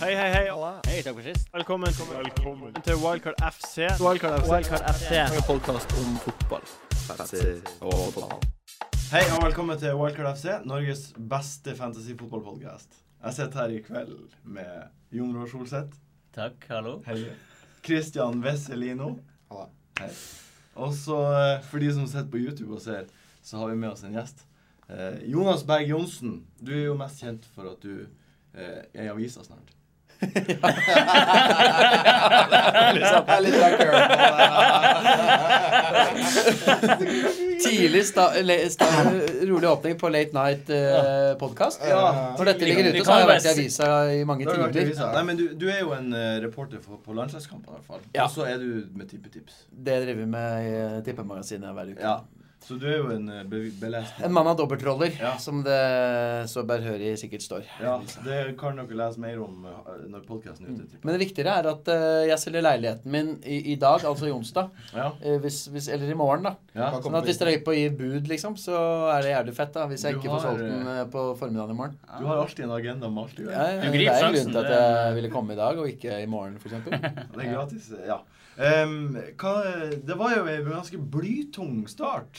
Hei, hei, hei. Hei, takk for sist. Velkommen, til Wildcard FC. Wildcard FC. Wildcard FC. En podkast om fotball. Hei og velkommen til Wildcard FC, Norges beste fantasy-fotballpodcast. Jeg sitter her i kveld med Jon Roar Solseth, Takk, hallo. Christian Vesselino Hei. Og så, eh, for de som sitter på YouTube og ser, så har vi med oss en gjest. Eh, Jonas Berg Johnsen, du er jo mest kjent for at du eh, er i avisa snart. Jeg er litt Tidlig sta, le, sta, rolig åpning på Late Night-podkast. Ja. Når dette Vi ligger ute, kan så har jeg bare vært i avisa i mange Da har du vært i timer. avisa. Nei, men du, du er jo en eh, reporter for, på landslagskampen i hvert fall. Ja. Og så er du med tippetips. Det driver vi med i eh, tippemagasinet hver uke. Ja. Så du er jo en eh, be belest En mann av dobbeltroller, Ja. som det så bærhørig sikkert står. Ja, det kan dere lese mer om eh, når podkasten er ute. tipper Men jeg. det viktigere er at eh, jeg selger leiligheten min i, i dag, altså i onsdag. Ja. eh, Hvis, hvis, eller i morgen, da. ja. Hva Sånn at hvis dere er på å gi bud, liksom, så er det jævlig fett, da. Hvis jeg Du ikke får har, solgt den eh, eh, på formiddagen i morgen. Du har alltid en agenda om alt du gjør. Ja, Du det griper er en sjansen, grunn til at det- jeg ville komme i dag, og ikke i morgen, f.eks. Det er gratis. Ja. Em, hva, det var jo en ganske blytung start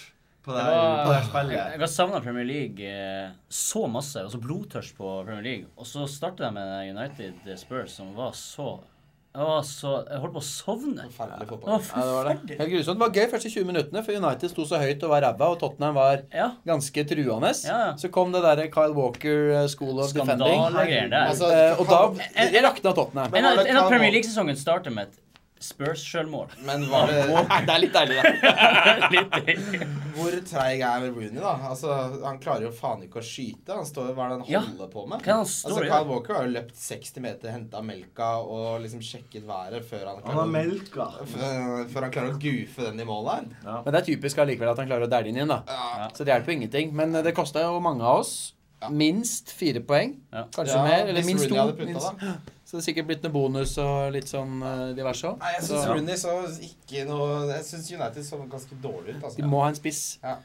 på det her, på det her Jeg spillet. har savna Premier League eh, så masse, og så blodtørst på Premier League. Og så startet jeg med United eh, Spurs, som var så Jeg var så Jeg holdt på å sovne. Forferdelig Det var fotball. Ja, det var det. forferdelig. Helt grusomt. Det var gøy første 20 minuttene, for United sto så høyt og var ræva, og Tottenham var Ja. ganske truende. Ja, ja. Så kom det derre Kyle Walker eh, School of Defending. Skandalegreier der. Altså, Eh, og da En- det rakna Tottenham. Men En av, var det en av Kyle Premier Walker? League-sesongen starter med et Spurs-sjølmål. Men var det, det er litt deilig, da. hvor treig er Rooney, da? Altså, Han klarer jo faen ikke å skyte. Han står, Hva er det han Ja. holder på med? Hva er det han står altså, og Kyle gjør? Walker har jo løpt 60 meter, henta melka og liksom sjekket været før han Han har klarer, melka. å- før- før han klarer å goofe den i mål der. Men det er typisk allikevel at han klarer å dæle inn igjen, da. Ja. Så det hjelper jo ingenting. Men eh, det kosta jo mange av oss. Minst fire poeng. Ja. Kanskje Ja, mer. Eller hvis minst to. Rooney hadde putta, Minst. Så det er sikkert blitt noe bonus og litt sånn eh, diverse òg. Nei, Jeg syns Rooney så ikke noe Jeg syns United så ganske dårlig ut. altså. De må ha en spiss. Ja.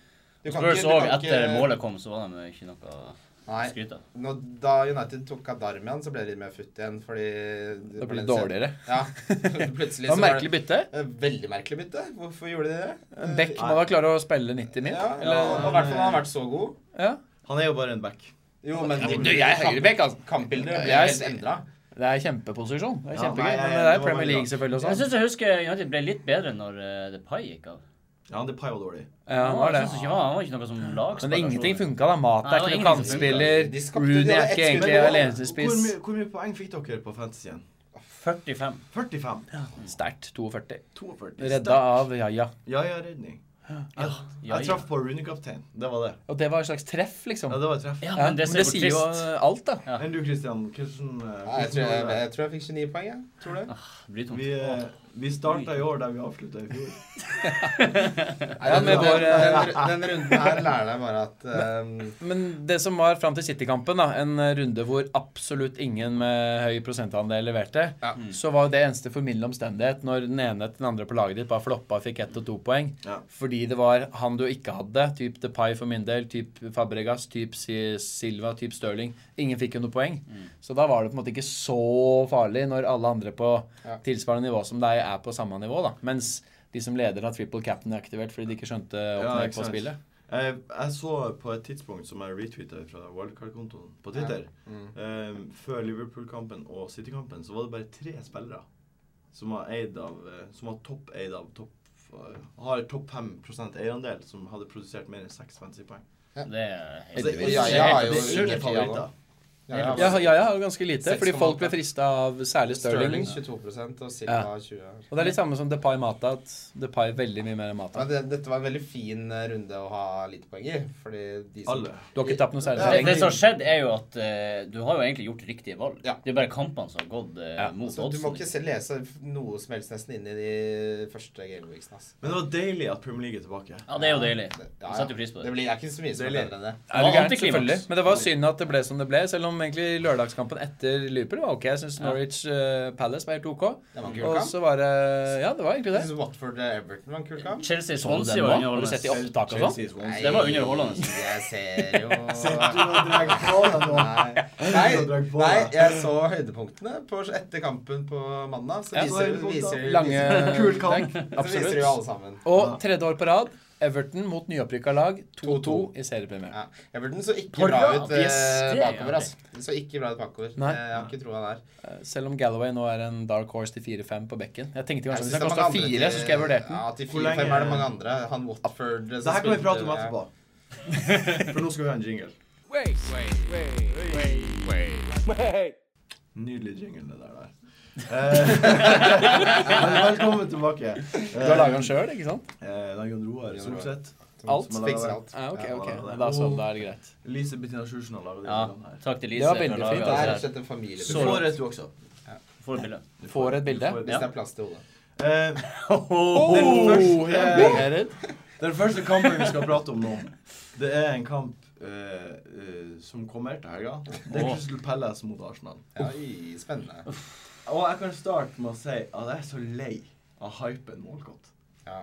Du kan Spurs ikke- du òg, kan eh, etter ikke- målet kom, så var de ikke noe å Nei. skryte av. Nå, da United tok av Darmian, så ble det litt mer futt igjen, fordi Det blir dårligere. Ja. Plutselig Det var så var merkelig bytte. det Veldig merkelig bytte. Hvorfor gjorde de det? Beck må da klare å spille 90 min. Ja, Eller, ja, og i hvert fall han har vært så god. ja. Han er jo bare en back. Jo, men du, jeg er høyrebekk, altså. Kampbildet ble Jeg helt ser- endra. Det er kjempeposisjon. Det er Ja, kjempegøy. nei, nei, Men nei, det det er var Premier veldig League selvfølgelig og Jeg sånn. syns jeg husker United ble litt bedre når eh, Depay gikk av. Ja, det paier dårlig. Ja, det var det. Jeg synes ikke, han var ikke noe som Men det, lagspiller. ingenting funka, da. Mat Nei, er det var ikke noen ingenting som kantspiller. funket. De skapte- Rooney de er hadde ikke ett egentlig Hvor, skudd. alenespiss. mye, hvor mye poeng fikk dere på Fantasyen? 45. 45? Sterkt. 42. 42? Redda av Jaja. Ja, ja, redning. Jeg, Ja, jeg ja. traff på Rooney-kaptein. Det var det. Og det var et slags treff, liksom. Ja, det var et treff. Ja, Ja, men det ser jo sier jo trist. alt, da. Ja. Enn du, Christian? Hvordan, eh, Ja, jeg, hvordan tror jeg, var det? jeg tror jeg fikk 29 poeng, jeg. Tror du? Ah, Brytungt. Vi, eh, vi starta i år der vi avslutta i fjor. Nei, den, med den, vår, eh, den, den runden her lærer deg bare at ehm, Men det som var fram til City-kampen, da, en runde hvor absolutt ingen med høy prosentandel leverte, Ja. Mm. så var jo det eneste formildende omstendighet når den ene til den andre på laget ditt bare floppa og fikk ett og to poeng. Ja. Fordi det var han du ikke hadde, typ Depay for min del, typ Fabregas, typ Si- Silva, typ Stirling. Ingen fikk jo noe poeng. Mm. Så da var det på en måte ikke så farlig når alle andre på Ja. tilsvarende nivå som deg er på samme nivå, da. Mens de som leder av triple captain er aktivert fordi de ikke skjønte opp Ja, ned ikke på sant. spillet. Jeg, jeg så på et tidspunkt som jeg retweeta fra wildcard-kontoen på Twitter mm. eh, Før Liverpool-kampen og City-kampen så var det bare tre spillere som var eid av eh, Som var topp eid av topp eh, har topp 5 eierandel, som hadde produsert mer enn seks fancy-poeng. Det er helt Altså, jeg- Heldigvis. Ja, jeg har jo det er ingen ingen favoritter. ja, Ja, ja, ja, ganske lite. Seks Fordi og folk Mata. ble frista av særlig Stirling. Stirling 22 og Silva 20. Og det er litt samme som Depay Mata, at Depay er veldig mye mer enn Ja, Mata. det, dette var en veldig fin eh, runde å ha lite poeng i. Fordi de som Alle. Du har ikke tapt noe særlig Det, så lenge. det som har skjedd, er jo at eh, du har jo egentlig gjort riktige valg. Ja. Det er bare kampene som har gått eh, Ja, mot altså, Du må ikke oddsen. se- lese noe som helst nesten inn i de første gameweeksene. Altså. Men det var deilig at Premier League er tilbake. Ja, det er jo deilig. Det- Jeg setter pris på det. Det blir det er ikke så mye som er Deilig. bedre enn det. Er du gæren? Antiklimaks. Selvfølgelig. Men det var synd at det ble som det ble, selv om som egentlig lørdagskampen etter Liverpool var ok. Jeg syns Norwich eh, Palace var helt ok. Det var en kul Og kamp. så var det Ja, det var egentlig Jeg det. syns Watford eh, Everton var en kul kamp. Chelsea Så du den Swansea nå? var Har du sett i underholdende. opptak og sånn? Chelsea, Swansea. Det var underholdende. Jeg ser jo Du har dratt på deg nå. Nei. Nei, nei, jeg så høydepunktene på, etter kampen på mandag. Så Ja. viser, viser, Lange Kul kamp. viser, så viser de jo alle sammen. Og tredje år på rad Everton mot nyopprykka lag 2-2 2-2 i seriepremieren. Ja. Everton så ikke På bra rad, ut eh, yes, det er bakover. jo ass. Det så ikke bra ut bakover. Nei. Eh, Jeg har ikke troa der. Eh, Selv om Galloway nå er en dark horse til 4-5 på bekken. Jeg tenkte Jeg kanskje hvis synes den det er kosta mange andre 4, til- så skulle jeg vurdert den. Ja, til Hvor 4-5 lenge- er det mange andre. Han Watford eh, Det som her kan vi spilte- prate om ja. etterpå. For nå skal vi ha en jingle. Nydelig jingle, det der. der. Eh, men velkommen tilbake. Du har laga den sjøl, ikke sant? Eh, det er Jon Roar Solseth. Alt? som har Fikser laget alt. Ja, ok, Ja, ok. det var det. Da, så, da er det greit. det. Lise Bettina Sjursen har laget Ja, den her. takk til Lise. Det var for veldig å lage fint, Det alt er rett og det her. slett en Du familiebedrift. Så- får et, du også. Får et bilde. Du får et bilde. Du får et Hvis Ja. det er plass til hodet. Eh, Oh, første- eh, jeg blir hered. Den første kampen vi skal prate om nå, det er en kamp eh, eh, som kommer til helga. Det er Åh. Crystal Palace mot Arsenal. Oi, spennende. Og jeg kan starte med å si at jeg er så lei av hypen med Walcott. Ja.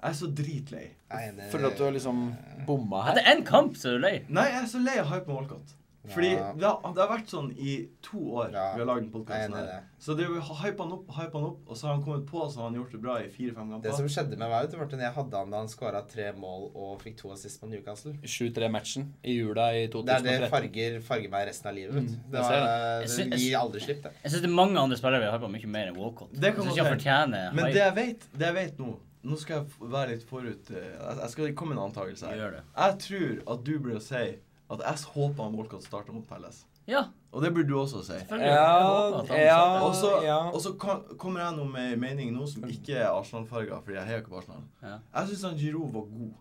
Jeg er så dritlei. Nei, det- Eh, Føler du at du har liksom bomma her? Etter én kamp så er du lei. Nei, jeg er så lei av hypen med Walcott. Fordi Ja. det, har, det har vært sånn i to år Ja. vi har lagd den Nei, podkasten nei, her. nei. Så det er jo hypa han opp, hypa han opp, og så har han kommet på, så har han gjort det bra i fire-fem kamper. Det som skjedde med meg, vet du, Martin, jeg hadde han da han skåra tre mål og fikk to assist på Newcastle. 7-3-matchen i jula i Det er 2013. det farger, farger meg resten av livet. vet du. Mm, Det, jeg ser var, Jeg det. sy- jeg gir aldri slipp, det. Jeg syns det er mange andre spillere vi har på mye mer enn Walcott. Det kan Jeg synes godt ikke han fortjener Men hype. det jeg vet, det jeg vet nå Nå skal jeg f- være litt forut. eh, Jeg jeg skal komme med en antakelse her. Gjør det. Jeg tror at du burde si at jeg håper han Walcott starter mot Palace. Ja, Og det burde du også si. selvfølgelig. Jeg håper at han Ja, Og starter. så ja. og så kan- kommer jeg nå med en mening nå som ikke er Arsenal-farga, fordi jeg heier ikke på Arsenal. Ja. Jeg syns han Giroud var god.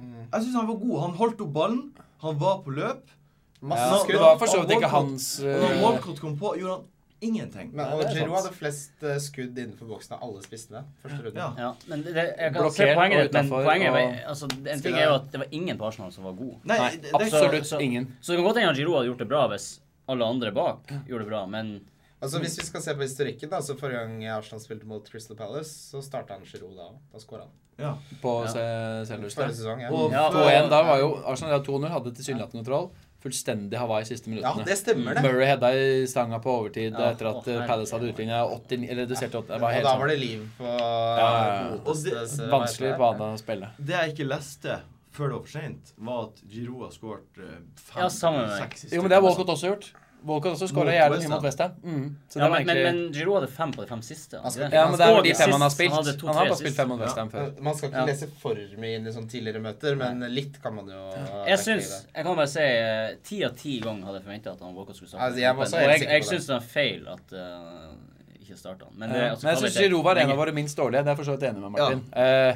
Jeg synes Han var god. Han holdt opp ballen, han var på løp. Ja, Masse det skudd. var for så Og vidt ikke Walcott- hans Og da eh, Walcott kom på, gjorde han ingenting. Men, Nei, og det er Giroud sant. hadde flest eh, skudd innenfor boksen av alle spissene. Første runde. Ja. Ja, men det, det- jeg kan Blokkert se poenget og ditt, men utenfor, poenget og- er- altså, En ting er jo at det var ingen på Arsenal som var god. Nei, Nei, det, det, er ikke- absolutt så- ingen. Så det kan godt hende at Giroud hadde gjort det bra hvis alle andre bak gjorde det bra, men Mm. Altså Hvis vi skal se på historikken, da, så forrige gang Arsenal spilte mot Crystal Palace, så starta han Giroud da òg. Da skåra han. ja. på Ja. Se- Selhurst. Forrige sesong, ja. Og Ja, før- 2-1 da var jo Arsenal hadde 2-0, hadde tilsynelatende kontroll. Fullstendig Hawaii siste Ja, minuttene. det stemmer, det. Murray hedda i stanga på overtid Ja, etter at å, eh, Palace hadde herregud. utligna 80 eller redusert til 80. Det var Og helt da sånn var det liv på ja, Og ja. det- Godeste- vanskelig bane å spille. Det jeg ikke leste før det var for seint, var at Giroud har skåret eh, fem Ja, samme med meg. seks Jo, men det har Walcott også gjort. Walcott også skåra Mot jævlig West mye mot Ham. Westham. Mm. Så det ja, var men, men, egentlig men Giroud hadde fem på de fem siste. altså. Han skal- ikke Ja, han men det er jo skåret de fem han har sist, spilt. han hadde to-tre Han har bare spilt sist. fem mot Ja. Westham før. Man skal Ja. ikke lese for mye inn i sånne tidligere møter, men litt kan man jo Jeg syns Jeg kan bare si eh, ti av ti ganger hadde jeg forventa at han Walcott skulle starte. Altså, jeg var kampen, og også helt jeg, sikker jeg på det. syns det er feil at eh, ikke starta han. Men, det, Eh, altså, Men jeg syns kvalitet- Giroud var en lenge- av våre minst dårlige. Det er jeg for så vidt enig med Martin. Eh,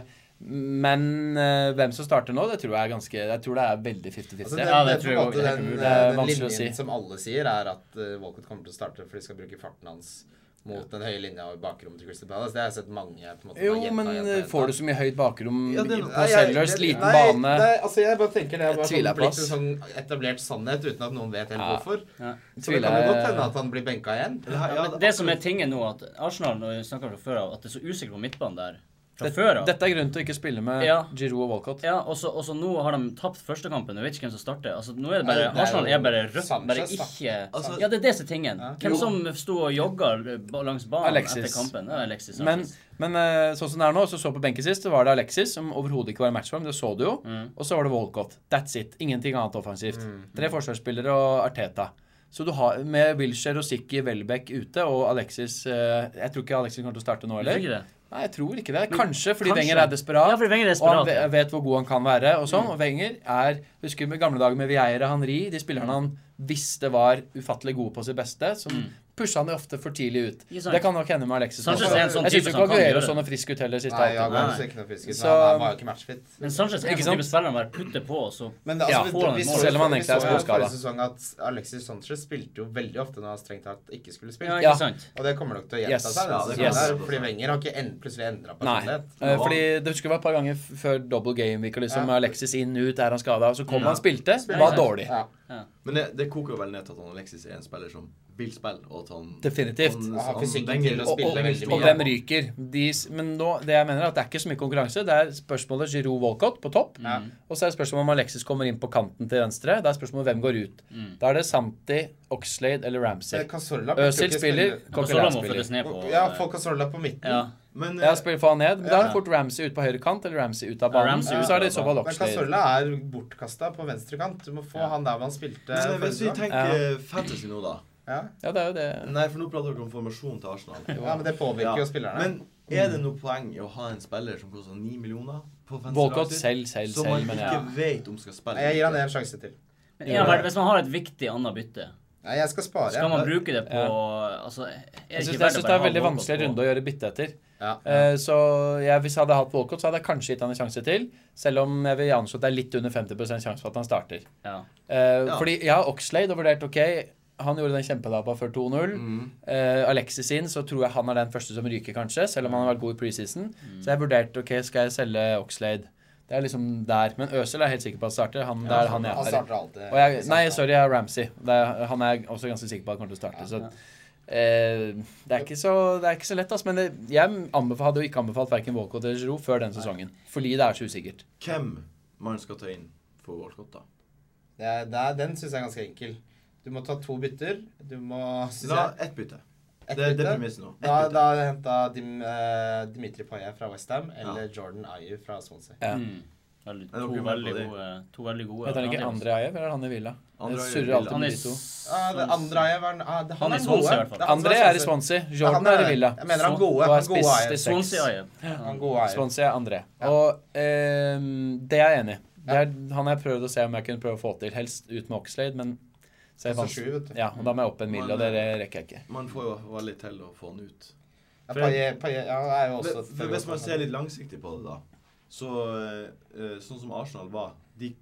Men eh, hvem som starter nå, det tror jeg er ganske Jeg tror det er veldig 50-50. Altså, det- det, ja, det, det tror på jeg en måte også er helt den, eh, umulig. Det er den vanskelig å linjen si. som alle sier, er at eh, Walcott kommer til å starte fordi de skal bruke farten hans mot den høye linja og bakrommet til Crystal Palace. Det har jeg sett mange på en måte, Jo, men eh, får du så mye høyt bakrom Ja, det- på Sellers, liten bane Nei, altså jeg bare tenker det er bare tviler jeg sånn, på, blitt en ass. sånn etablert sannhet uten at noen vet helt Ja. hvorfor. Ja. Så det kan Tviler jo jeg- godt hende at han blir benka igjen. Det, her, Ja, ja, men det, det som er tingen nå, at Arsenal når vi snakket fra før av, at det er så usikkert på midtbanen der fra Dette- før av. Dette er grunnen til å ikke spille med Ja. Giroud og Walcott. Ja, og så og så nå har de tapt første kampen. Jeg vet ikke hvem som starter. Altså, nå er det bare, Nei, det er Arsenal jo er bare rødt. Bare Sanchez, da. ikke Altså- Ja, det er det som er tingen. Ja. Hvem som sto og jogga langs banen Alexis. etter kampen? Ja, Alexis Men, Sanchez. men eh, sånn som det er nå, så så på benken sist, så var det Alexis, som overhodet ikke var i matchform. Det så du jo. Og så var det Walcott. That's it. Ingenting annet offensivt. Tre forsvarsspillere og Arteta. Så du har med Wilshere og Sikki Welbeck ute, og Alexis eh, Jeg tror ikke Alexis kommer til å starte nå Men, heller. det. Nei, jeg tror ikke det. Kanskje fordi Kanskje. Wenger er desperat. Ja, fordi Wenger er Og han desperat, Mm. ve- ja. vet hvor god han kan være. Og sånn. Og Wenger er Husker med gamle dager med Vieira, Henri, de spillerne han visste var ufattelig gode på sitt beste, som Mm. pusha han ofte for tidlig ut. Ikke sant? Det kan nok hende med Alexis. Sanchez også. er en sånn jeg type syns ikke som kan Aguero gjøre så noe frisk ut heller siste Nei, ja, halvtime. han Nei. ser ikke noe frisk ut. Så- men Han han var jo ikke matchfit. men Sanchez er en Ikke sånn sant? type spiller man bare putter på, og så Men altså, Ja. vi- Får han vi et så mål? jo- Selv om han egentlig er vi så jo småskada. Forrige sesong at Alexis Sanchez spilte jo veldig ofte når han strengt tatt ikke Ja, skulle spille. ikke Ja. sant? Og det kommer nok til å gjenta Yes. Ja, seg. det denne sesongen kan her, det. Fordi Wenger har ikke en, plutselig endra Nei. personlighet. eh, Fordi Det husker jeg var et par ganger f- før double game-week, og liksom Ja. Alexis inn, ut, er han skada? Så kom han, spilte, Spilte. var dårlig. Ja. Ja. Men det, det koker vel ned til at han Alexis er en spiller som vil spille, og at han Definitivt. Han, har han fysikken lenger- til å og- Og, og- spille lenger veldig og, mye. og hvem ryker? De, s- men nå, det jeg mener er at det er ikke så mye konkurranse. Det er spørsmålet Giroud Walcott på topp. Ja. Og så er det spørsmålet om Alexis kommer inn på kanten til venstre. Det er spørsmålet hvem går ut. Da er det Santi, Oxlade eller Eh, Ramsey. Casorla Øzil spiller, Cazorla Coquelin må spiller. følges ned på. eh, Ja, få Casorla på midten. Ja. Men eh, Ja, spiller faen ned. Men da er det fort Ramsey ut på høyre kant eller Ramsey ut Ja, av banen. Ramsey ut Så er det i av så fall Men Oxlade. Casorla er bortkasta på venstrekant. Du må få han der hvor han spilte. men hvis vi forrige gang. tenker fantasy nå, da ja. Ja, det er jo det. Nei, for nå prater dere om formasjonen til Arsenal. ja, men det påvirker jo spillerne. Men er det noe poeng i å ha en spiller som koster 9 millioner på fantasy Walcott laget sitt, selv, selv, som man selv, men ikke ja. vet om skal spille? Nei, jeg gir han en sjanse til. Men ja, vel, hvis man har et viktig annet bytte, Nei, jeg skal spare. skal man bruke det på altså, er Jeg det syns ikke det, jeg verdt å synes det bare er ha veldig Walcott vanskelig på- runde å gjøre bytte etter. Ja. Eh, Så jeg, hvis jeg hadde hatt Walcott, så hadde jeg kanskje gitt han en sjanse til. Selv om jeg vil anslå at det er litt under 50 sjanse for at han starter. Ja. Eh, Fordi jeg har Oxlade og vurdert ok, han gjorde den kjempedabba før 2-0. Eh, Alexis inn, så tror jeg han er den første som ryker, kanskje. Selv om han har vært god i preseason. Så jeg vurderte ok, skal jeg selge Oxlade. Det er liksom der. Men Øzil er jeg helt sikker på at starter. Han, det er han Han jeg har. starter alltid. Og jeg, nei, sorry, jeg er Ramsey. Det er, han er jeg også ganske sikker på at kommer til å starte. Så eh, det, er ikke så, det er ikke så lett, ass. Men det, jeg anbefal, hadde jo ikke anbefalt verken Walcott eller Giroud før den sesongen. Fordi det er så usikkert. Hvem man skal ta inn for Walcott, da? Det er, det er, den syns jeg er ganske enkel. Du må ta to bytter. Du må synes La jeg, ett bytte. ett det, det er bytte. premisset nå. Ett Da, bytte. da henta Dim, eh, Dimitri Payet fra Westham eller Jordan Ayew fra Swansea. Ja. Mm. Veldig, Er dere to, med på veldig det? gode, to veldig gode Vet han ikke alternativer. Andre Ajev, eller er han i Villa? Andre Jeg Ayew i surrer Villa. alltid Han med er de to. Ah, det andre Ayew er ah, Han det, Han er er Swansea, gode. i hvert fall. Det er han som André er i Swansea. Swansea. Ja, Jordan han er i Villa. Jeg mener han Swan- gode. og er Han gode spiss Ayew. til seks. Swansea, ja. Han gode Ayew. Swansea er André. Ja. Og eh, det er jeg enig i. Det er han jeg prøvd å se om jeg kunne prøve å få til. Helst ut med Oxlade, men så er det Så Altså, sju, vanskelig. vet du. Ja, og da må jeg opp en mil, og det rekker jeg ikke. Man får jo veldig til å få han ut. Ja, Payet, Payet ja, han er jo også Men- men Hvis man ser litt langsiktig på det, da, så eh, sånn som Arsenal var de,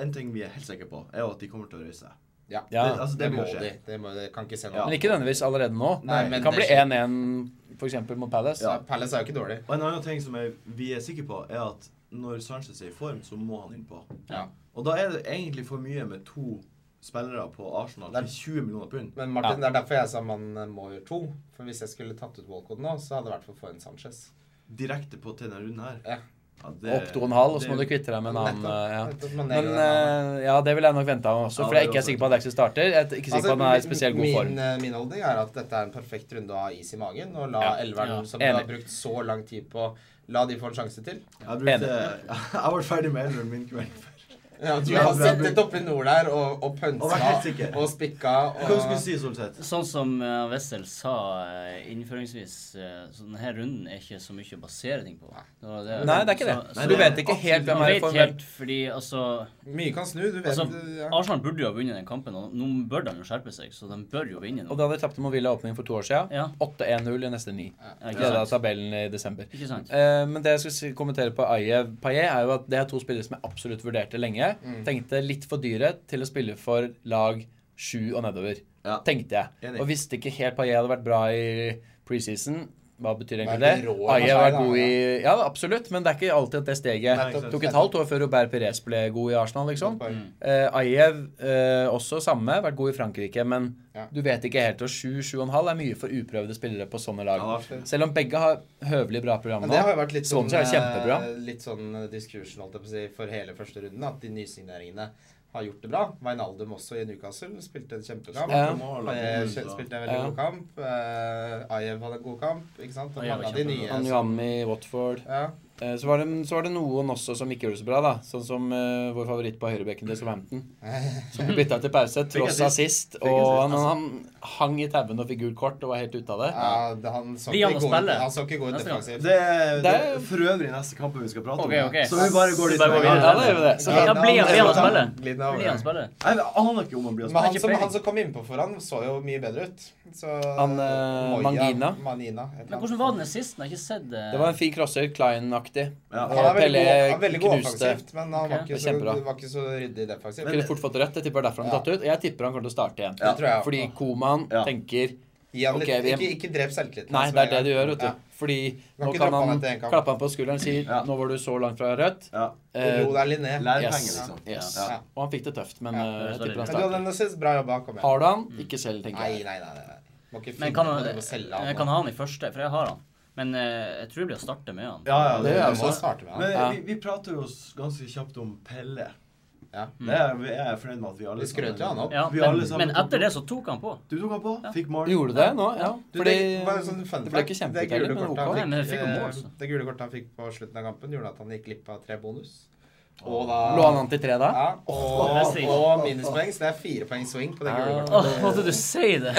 En ting vi er helt sikre på, er jo at de kommer til å reise. ja. Ja, det, altså, Det det må vil jo de. skje. Det må, de kan ikke se Ja. noe Men ikke nødvendigvis allerede nå. Nei, det men kan bli det 1-1 f.eks. mot Palace. Ja. Palace er jo ikke dårlig. Og en annen ting som jeg, vi er sikre på, er at når Sanchez er i form, så må han innpå. Ja. Og da er det egentlig for mye med to spillere på Arsenal Det er- til 20 millioner pund. Men Martin, det er derfor jeg sa man eh, må gjøre to. For hvis jeg skulle tatt ut Walcott nå, så hadde jeg i hvert fall fått en Sanchez. Direkte på til denne runden her. Ja. Ja, det- Opp 2,5, og så må du det- kvitte deg med en annen. Nettopp. eh, Ja. Nettopp, man Men nailer den av. eh, ja, det ville jeg nok venta også, Ja, det for jeg ikke vil er jeg sikker på at Alexis starter. Jeg er ikke sikker på at han er i Altså, spesielt god min, form. eh, Min holdning er at dette er en perfekt runde å ha is i magen. Og la Ja. elveren Ja. som vi har Enig. brukt så lang tid på, la de få en sjanse til. Jeg, brukte, jeg var ferdig med elveren min kvelden før. Ja, du Ja, har det er sittet oppe i nord der og, og Og vært helt pønska sikker. og spikka Hva skulle og du si, Solseth? Sånn som eh, Wessel sa eh, innføringsvis, eh, så denne runden er ikke så mye å basere ting på. Det var det- Nei, det er ikke det. Så- Nei, du det- vet ikke helt Man hvem er i vet form. hvem- helt, fordi altså, Mye kan snu, du vet altså ja. Arsenal burde jo ha vunnet den kampen, og nå bør de jo skjerpe seg, så de bør jo vinne nå. Og da de tapte mot Villa i åpningen for to år siden. Ja. 8-1-0 i neste ni. Ja, Det er ikke sant? tabellen i desember. Ikke sant? Eh, men det jeg skal si- kommentere på Ayev Payet, er jo at det er to spillere som jeg absolutt vurderte lenge. Tenkte litt for dyre til å spille for lag sju og nedover. Ja. Tenkte jeg. Enig. Og visste ikke helt Payet hadde vært bra i preseason. Hva betyr Veldig egentlig det? rå for Ayev seg, har da, vært god i Ja, absolutt, men det er ikke alltid at det steget Nei, ikke sant. Tok et halvt år før Robert Perez ble god i Arsenal, liksom. Mm. Eh, Ayev eh, også samme, vært god i Frankrike, men Ja. du vet ikke helt. Og 7-7,5 er mye for uprøvde spillere på sånne lag. Ja, absolutt. Selv om begge har høvelig bra program Men nå. det har jo vært litt sånn, Swansea er kjempebra. eh, litt sånn eh, discussion holdt jeg på å si, for hele første runden, at de nysigneringene har gjort det bra. Wijnaldum også i Newcastle spilte en kjempekamp. Ja. Mål, Eh, og- Kjell spilte en Ja. veldig god kamp. Eh, Ayev hadde en god kamp. Ikke sant? Og Ayew var mange av de kjempebra. nye som- Anjami, Watford. ja. Eh, så, var det, så var det noen også som ikke gjorde det så bra, da. Sånn som eh, vår favoritt på høyrebekken til Southampton. Som ble bytta til pause tross assist. assist. Fikk Og han, assist. han hang i tauene og fikk gult kort og var helt ute av det. altså. Ja, det, han, så Blir ikke han å god spille? ut- han så ikke god ut Neste gang. defensivt. Det er det Det er- er for øvrig neste kamp vi skal prate om. Ok, ok. Så vi bare går dit. Så bare går vi videre. Ja, da gjør vi det. Så Ja, Glidd blir han- av- blir han å spille? Glidd av Blir han overgang. spiller? Jeg aner ikke om han blir å Men han Ikke som, peiling. han som kom innpå for han, så jo mye bedre ut. Så, Han, eh, Moya, Mangina. Manina et eller Men annet. hvordan var den sist? Jeg har ikke sett eh, Det var en fin crosser, Klein-aktig. Ja. Og han er veldig Pelé god, han er veldig god knuste. offensivt, men han var, Ok. ikke så, Kjempebra. var ikke så ryddig defensivt. Men- Kunne fort fått rødt. Jeg tipper det er derfor han ble Ja. tatt ut. Jeg tipper han kommer til å starte igjen. Det tror jeg også. Fordi Koman Ja. tenker Gi han litt, Ok, vi- ikke, ikke drep selvtilliten. Nei, hans det med er det en du gang. gjør, vet Ja. du. Fordi nå kan ikke kan klappe han han etter en kamp. klappe han på skulderen og si Ja. 'Nå var du så langt fra rødt'. Ja. Eh, Ro deg litt ned. Lærpenger, yes. liksom. Yes. Ja. Ja. Og han fikk det tøft, men Ja. eh, jeg tipper han Men du starter. hadde en assist. Bra jobba. Kom igjen. Har du han? Ikke selv, tenker Nei, jeg. nei, nei. nei, nei. Må ikke finne Men kan, på det jeg med å selge jeg han. kan ha han i første, for jeg har han. Men eh, jeg tror det blir å starte med han. Ja, ja, Det det gjør er jeg Du må også. starte med han. Men Ja. vi, vi prater jo s- ganske kjapt om Pelle. Ja. Det er vi er fornøyd med at vi alle Vi skrøt jo han opp. Mm. Ja, Vi men, alle sammen men tok etter opp. det så tok han på. Du tok han på, fikk mål. Gjorde du det nå? Ja. Du, Fordi det- bare sånn fun det ble ikke fact, det gule kjempeuttelling, men kortet han Nei, ok. men jeg fikk jo mål, så. eh, altså. Det gule kortet han fikk på slutten av kampen, gjorde at han gikk glipp av tre bonus. Og da Lå han an til tre da? Ja, det er og, stil. og minuspoeng, så det er fire poeng swing på det gule Ja. kortet. Åh, måtte du si det?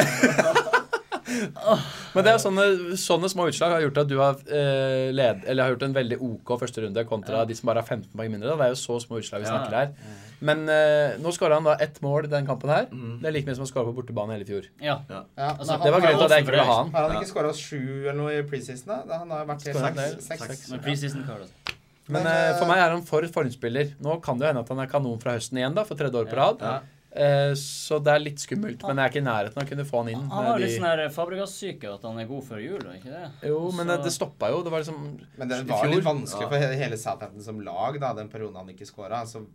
Men det er sånne, sånne små utslag har gjort at du har, eh, led, eller har gjort en veldig OK første runde kontra Ja. de som bare har 15 poeng mindre. Da. Det er jo så små utslag vi Ja. snakker her. Men eh, nå skåra han da ett mål i den kampen her. Mm. Det er like mye som han skåra på bortebane hele i fjor. Ja. Ja, Altså, men Det var han, grunnen til at jeg ikke ville ha han. har han ikke skåra sju eller noe i preseason? da? Han har vært Scoret en helt del. seks. seks. Seks. Med preseason card. altså. Men eh, for meg er han for formspiller. Nå kan det jo hende at han er kanon fra høsten igjen, da, for tredje år på rad. Ja. Eh, så det er litt skummelt, men jeg er ikke i nærheten av å kunne få han inn. Han med har litt de- sånn her Fabregas-syke, at han er god før jul, og ikke det? Jo, men eh, det, Så- det stoppa jo. Det var liksom Men det i var fjor. litt vanskelig for he- hele Southampton som lag, da, den perioden han ikke skåra. Så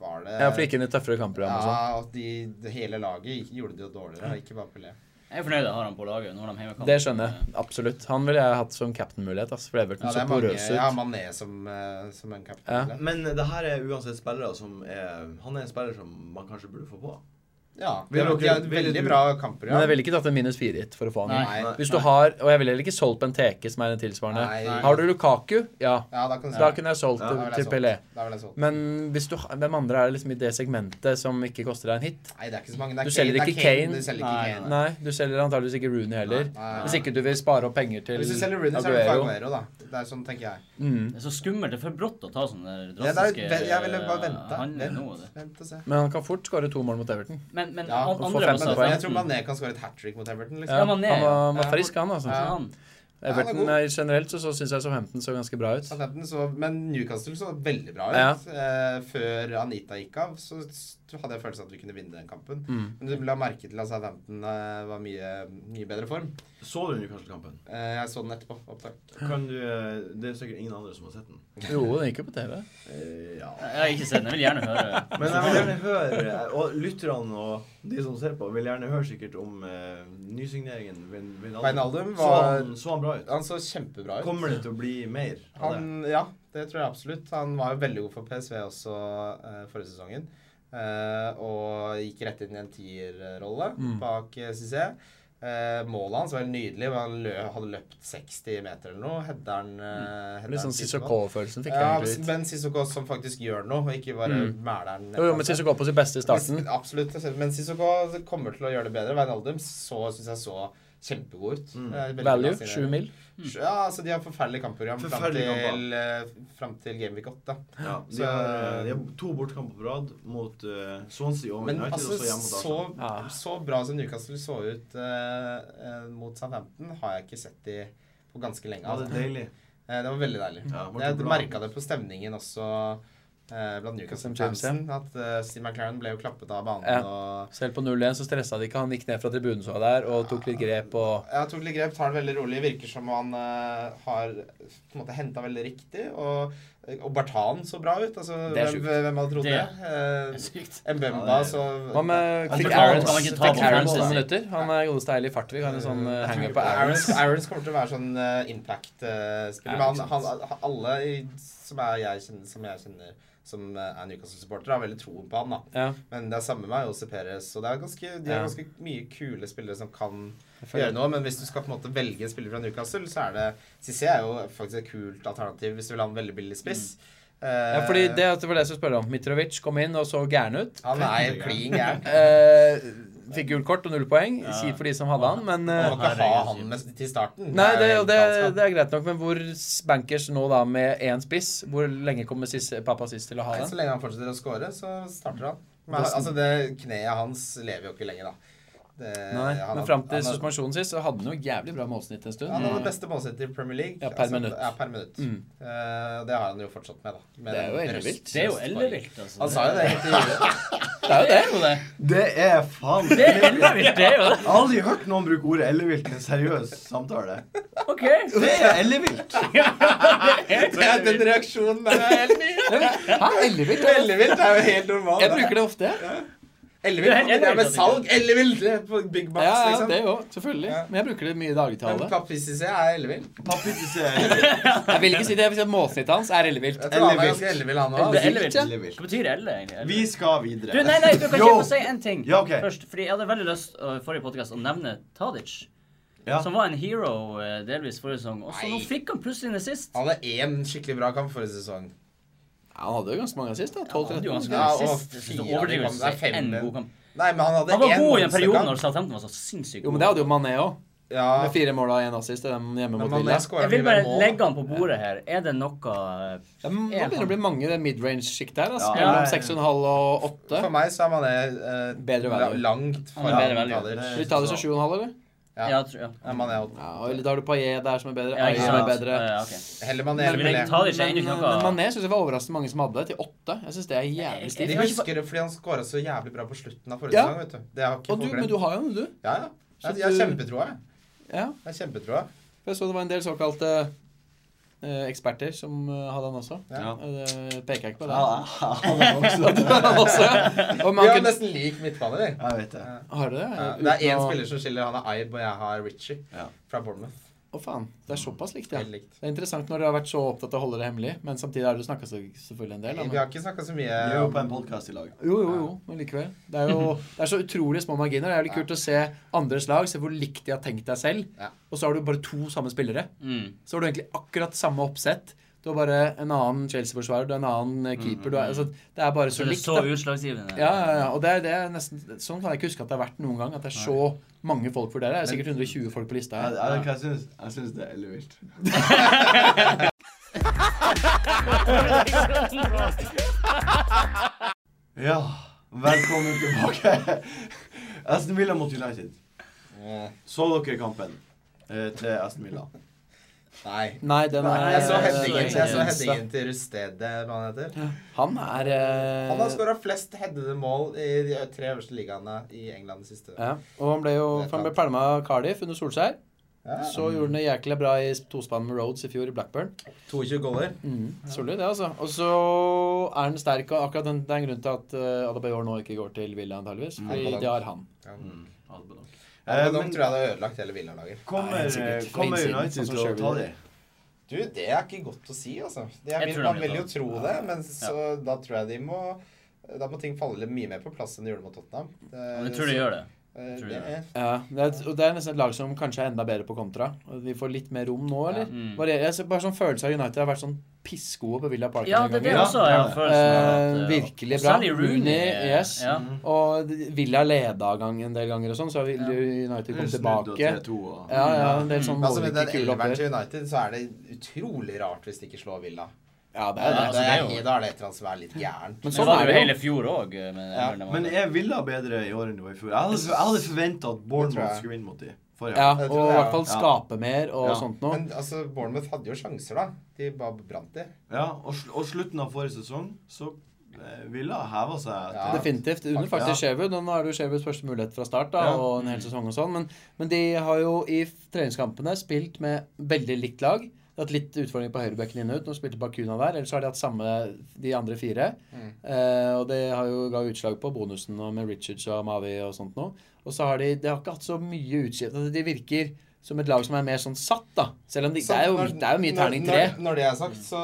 var det Ja, for ikke inn i tøffere kampprogram og sånn. Ja, og de, det hele laget gjorde det jo dårligere, ikke bare Pelé. Jeg er fornøyd jeg har han på laget. Nå har de hjemmekamp. Det skjønner jeg. Absolutt. Han ville jeg hatt som captain-mulighet, ass, for Everton Ja, det så er mange, porøs ja, ut. Mané som, eh, som en Ja. kaptein. Ja. Men det her er uansett spillere som er Han er en spiller som man kanskje burde få på. de har- de har et Vil du- veldig bra Men jeg kampprogram. ville ikke tatt en minus fire hit for å få han inn. Nei. Nei. Hvis du har Og jeg ville heller ikke solgt Benteke, som er en tilsvarende. Nei. Har du Lukaku? Ja. Ja, da kan du Da kunne jeg solgt Ja, da ville til, jeg til solgt. Pelé. Da ville jeg solgt. Men hvis du, har- hvem andre er det liksom i det segmentet som ikke koster deg en hit? Nei, det er ikke så mange. Det er Du selger det er ikke Kane. Du selger Nei, ikke Kane. Nei, du selger antageligvis ikke Rooney heller. Nei. Hvis ikke du vil spare opp penger til Hvis du selger Rooney, så er det for Aguero, da. Det er sånn, tenker jeg. Mm. Det er så skummelt. Det er for brått å ta sånne der Ja, det er, drastiske ve- jeg ville bare eh, vente. handlinger nå. Vent, Det. vent og se. Men han kan fort skåre to mål mot Everton. Men, men Ja, an- og få andre fem må Men sa poeng. jeg tror Southampton. Mané kan skåre et hat trick mot Everton, liksom. Ja, Mané, han var, var ja. frisk, han, altså. Ja. Han. Everton Ja, han er generelt så, så syns jeg Southampton så ganske bra ut. Southampton så, men Newcastle så veldig bra Ja. ut. Eh, før Anita gikk av, så s- hadde jeg følelsen at vi kunne vinne den kampen. Men du la merke til at Southampton eh, var mye, mye bedre form. Så du Newcastle-kampen? Eh, jeg så den etterpå. Opptak. Kan du eh, Det er sikkert ingen andre som har sett den. Jo, den gikk jo på TV. Eh, ja. Jeg har ikke sett den. Jeg vil gjerne høre. Men jeg vil gjerne høre, og lytterne og de som ser på, vil gjerne høre sikkert om eh, nysigneringen. Vin- Wijnaldum. Wijnaldum så, var- han, så han bra ut? Han så kjempebra ut. Kommer det til å bli mer av det? Han, ja, det tror jeg absolutt. Han var jo veldig god for PSV også eh, forrige sesongen. Eh, og gikk rett inn i en tierrolle Mm. bak eh, Cissé. Eh, målet hans var helt nydelig. Han lø hadde løpt 60 meter eller noe. Headeren eh, headeren Mm. Litt sånn til mål. Sissoko-følelsen fikk jeg Ja, egentlig litt. men Sissoko som faktisk gjør noe, og ikke bare Mm. mæler den. Jo, jo, men Sissoko på sitt beste i starten. Absolutt. Men Sissoko kommer til å gjøre det bedre. Wijnaldum så syns jeg så kjempegod ut. Mm. Eh, veldig bra Value, signering. sju mil. Ja, altså de har forferdelig kampprogram fram Forferdelig til, eh, fram til Gameweek 8. Ja, de, Så- har, eh, de har to bortkamper på rad mot eh, Swansea og Men United, altså, og så hjemme mot så, Arsenal. Ja. så bra som Newcastle så ut eh, eh, mot Southampton, har jeg ikke sett de på ganske lenge. Ja, det Altså. er deilig. Eh, det var veldig deilig. Ja, det var jeg bra. merka det på stemningen også eh, blant Newcastle-fansen. At eh, Steve McLaren ble jo klappet av banen. Ja. og Selv på 0-1 så stressa det ikke. Han gikk ned fra tribunen så der og tok litt grep og jeg tok litt grep, tar det veldig rolig. Virker som han eh, har på en måte henta veldig riktig. Og, og Bartan så bra ut. Altså, Det er hvem, sjukt. hvem hadde trodd det? Det Eh, Det er sykt. Mbemba, Ja, det er- så Hva med Jeg Fikk tror ikke Aarons han kan ikke ta Fikk på Aarons Francis. noen minutter? Han er godeste Eilif Fartvig. Har en sånn eh, Jeg tror hanger ikke- på Aarons. Aarons- Aarons kommer til å være sånn eh, impact-spiller. Ja, men ikke han, han, han- alle i, som, er jeg kjenner, som jeg kjenner som eh, er Newcastle-supportere, har veldig troen på han. da. Ja, Men det er samme med Jose Perez. Og det er ganske, de Ja. er ganske mye kule spillere som kan jeg gjøre føler- noe. Men hvis du skal på en måte velge en spiller fra Newcastle, så er det Cissé er jo faktisk et kult alternativ hvis du vil ha en veldig billig spiss. ja, fordi eh, det at det var det jeg skulle spørre om. Mitrovic kom inn og så gæren ut. Han er klin gæren. Eh, fikk gult kort og null poeng. Ja. Kjipt for de som hadde han, men Man eh, må ikke ha Herregud. han med, til starten. Nei, det, er jo og det, galskap. det er greit nok, men hvor bankers nå da med én spiss? Hvor lenge kommer siste, pappa sist til å ha Nei, den? så lenge han fortsetter å score, så starter han. Men Det- altså, det kneet hans lever jo ikke lenge, da. Det, Nei, men han har- fram til han har- suspensjonen sist så hadde han jo jævlig bra målsnitt en stund. Han har det beste målsettet i Premier League. Mm. Altså, Ja, per minutt. Ja, per minutt. Mm. Eh, og det har han jo fortsatt med, da. Med Det er jo den ellevilt. brøst- Det er jo ellevilt, altså. Han sa jo det i intervjuet. Det er Det er jo jo det. det. Det er faen Det er ellevilt, det er jo det. Jeg har aldri hørt noen bruke ordet ellevilt i en seriøs samtale. OK. Det er ellevilt! Det er den reaksjonen der er helt ny. Hæ, ellevilt? Ellevilt er jo helt normalt. Jeg bruker det ofte, jeg. Ellevilt Ja, kombinerer med ellevilt, salg. Ellevilt det er på Big Ja, Max, ja, liksom. det jo, selvfølgelig. Ja. Men jeg bruker det mye i Men dagligtale. Papissi er ellevill. Pappi ikke se ellevilt. Jeg vil ikke si det, jeg vil si at målsnittet hans er ellevilt. Jeg tror han er Ellevilt. ganske ellevill, han Det er òg. ellevilt. Ellevilt. Hva betyr elle, egentlig? Elle? Vi skal Du, videre. nei, nei, du kan Jo. ikke få si en ting Ja, ok. først. Fordi jeg hadde veldig lyst uh, forrige podcast å nevne Tadic. Ja. Som var en hero eh, delvis forrige sesong. Og så nå Nei. fikk han plutselig en assist. Han hadde én skikkelig bra kamp forrige sesong. Ja, han hadde jo ganske mange sist, da. Han hadde jo 12-13. ganske Ja, ja, og assist. Jeg synes det fire er av de overdrivelse å kampene er si en fem. god kamp. Nei, men han hadde Han var én god i en periode monsterkamp. når Southampton var så sinnssykt Jo, god. men det hadde jo Mané òg. Ja, Med fire mål og én assist i den hjemme men mot Mané Villa. skåra Jeg mye vil mer bare mål. legge han på bordet her. Er det noe eh, Ja, men Nå begynner det å bli mange i det midrange-sjiktet her. Altså. Ja. Mellom 6,5 og 8. For meg så er Mané eh, Bedre value. langt Han er bedre foran value. Tadic. Vil du ta det som 7,5, eller? Ja. Ja, tror jeg. Ja, Mané er åtte. Ja, og Eller tar du Paillet der, som er bedre? Ja, Eier ikke som er sant. bedre? Ja, ok. Heller Mané Men enn Men jeg Pelé. tar det ikke, Men, eh, jeg er ikke men noe Mané syns jeg var overraskende mange som hadde det, til 8. Jeg syns det er jævlig De stivt. Jeg- husker det fordi han skåra så jævlig bra på slutten av forrige Ja. sesong. vet du. Det har ikke Og du, folk men glemt. du har jo noe, du. Ja, ja. Så Jeg, jeg har du- kjempetroa, jeg. Ja. jeg har kjempetroa. For Jeg så det var en del såkalte eh, eksperter som eh, hadde han også. Ja. Eh, Det peker jeg ikke på. Ja, Det. han er også også, ja. Og Vi man har kunne... nesten lik midtbane, vi. Jeg vet det. Har dere det? Ja, det er én Uten å- spiller som skiller. Han er Ibe, og jeg har Richie Ja. fra Bournemouth. Å, faen. Det er såpass likt, ja. Helt likt. Det er interessant når du har vært så opptatt av å holde det hemmelig, men samtidig har du snakka selvfølgelig en del. Da, Vi men... har ikke snakka så Vi mye er jo om på en podkast i lag. Jo, jo, jo, men likevel. Det er jo det er så utrolig små marginer. Det er jævlig kult å se andres lag, se hvor likt de har tenkt deg selv. Ja. Og så har du bare to samme spillere. Mm. Så har du egentlig akkurat samme oppsett. Du har bare en annen Chelsea-forsvarer, du har en annen eh, keeper. Mm. Du er, altså, det er bare Så så det er likt. så da. utslagsgivende. Ja, ja, ja. Og det er, det er nesten, sånn kan jeg ikke huske at det har vært noen gang. At det er så mange folk for dere. Det er sikkert 120 folk på lista. Jeg, her. jeg, jeg, syns, jeg syns det er ellevilt. Ja, velkommen tilbake. Aston Villa mot United. Eh, Så dere kampen eh, til Aston Villa? Nei. Nei, den er Jeg så eh, headingen, jeg så eh, headingen til Rustede, hva han heter. Han er eh, Han har skåra flest headede mål i de tre øverste ligaene i England det siste. ja, Og han ble jo for han ble pælma av Cardiff under Solskjær. Ja. Så gjorde han det jækla bra i tospann med Rhodes i fjor i Blackburn. 22 goaler. Mm, Solid, det, altså. Og så er han sterk, og akkurat den, det er en grunn til at uh, Adebayor nå ikke går til Villa, antageligvis. Fordi Albanok. Mm. det har han. Ja, Eh, Mm. men, men tror jeg det har ødelagt hele Villa-laget. Nei, kommer, helt sikkert. kommer Feinsiden, sånn United som til å kjører ta videre. dem? Du, det er ikke godt å si, altså. Det er, Jeg tror man de vil vil jo tro det, men så, da tror jeg de må Da må ting falle litt mye mer på plass enn de gjorde mot Tottenham. Men Jeg tror det gjør det. Eh, tror det det. er- Ja, det er, et- og det er nesten et lag som kanskje er enda bedre på kontra. Og Vi får litt mer rom nå, eller? Mm. Varier- jeg ser bare sånn følelse av United har vært sånn pissgode på Villa Park Ja, noen det er det ganger. også. Jeg har følelsen av at, Eh, eh, virkelig og bra. Sally Rooney. Rooney, eh, yes. Ja. Og de- Villa leda gang en del ganger og sånn, så har Villa- United kommet Snudd tilbake. og 3-2 og- Ja, ja, en del sånn Altså, med den målrike kule elveren oppgjør. til United så er det utrolig rart hvis de ikke slår Villa. Ja, det Da er det. Ja, altså, det er er jo- det- da er det et eller annet som er litt gærent. Men Så sånn var er det jo hele det jo. fjor eh, òg. Ja, Men er Villa bedre i år enn de var i fjor? Jeg hadde, jeg hadde forventa at Det tror Bournemouth jeg. skulle vinne mot dem forrige Ja, gang. Jeg og tror i det, hvert fall ja. skape mer og Ja. sånt noe. Men altså, Bournemouth hadde jo sjanser, da. De bare brant de. Ja, og, sl og slutten av forrige sesong, så eh, Villa heva seg. Ja. etter- Definitivt. Under Faktisk, faktisk Skjevud. Nå er det jo Skjevus første mulighet fra start da, Ja. og en hel sesong og sånn. Men, men de har jo i f- treningskampene spilt med veldig likt lag. De har hatt litt utfordringer på høyrebekken inn og ut. Nå spilte Bakuna der. Ellers har de hatt samme de andre fire. Mm. Eh, og det har jo ga utslag på bonusen og med Richards og Mavi og sånt noe. Og så har de De har ikke hatt så mye utskift. Altså, De virker som et lag som er mer sånn satt, da. Selv om de, Så det, er jo, når- det er jo mye terning når- tre. Når, når det er sagt, så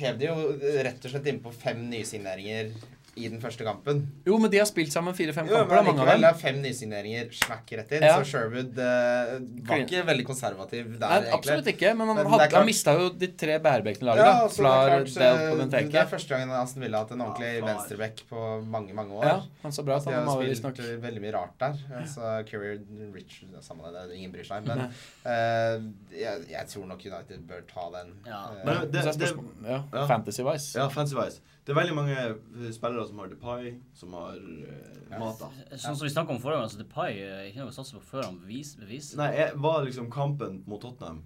hev de jo rett og slett innpå fem nysigneringer i den første kampen. Jo, men de har spilt sammen fire-fem Jo, kamper, da, men mange av dem. likevel, det er fem nysigneringer smack rett inn. Ja. Så Sherwood eh, var Clean. ikke veldig konservativ der, Nei, egentlig. absolutt ikke, men han, Men det er hadde, klart- han mista jo de tre bærebjelkene i laget. Ja, da. altså, Flar, det, er klart, Delp og eh, det Benteke. er første gangen Aston Villa har hatt en ordentlig Ja, klar. venstreback på mange, mange år. Ja, han så bra ut, De han har Amavi, jo visstnok. spilt eh, veldig mye rart der. Altså, Career Richard det er samme det, det, er ingen bryr seg. Men eh, jeg, jeg tror nok United bør ta den. Ja. Eh, Men det, Så er det, spørsmålet- Ja, ja. Fantasy-wise. ja, fancy wise. Det er veldig mange eh, spillere spillere som har Depay, som har eh, Mata. Sånn som vi snakket om forrige gang, altså Depay er ikke noe å satse på før han bevis- beviser Nei, jeg, var liksom kampen mot Tottenham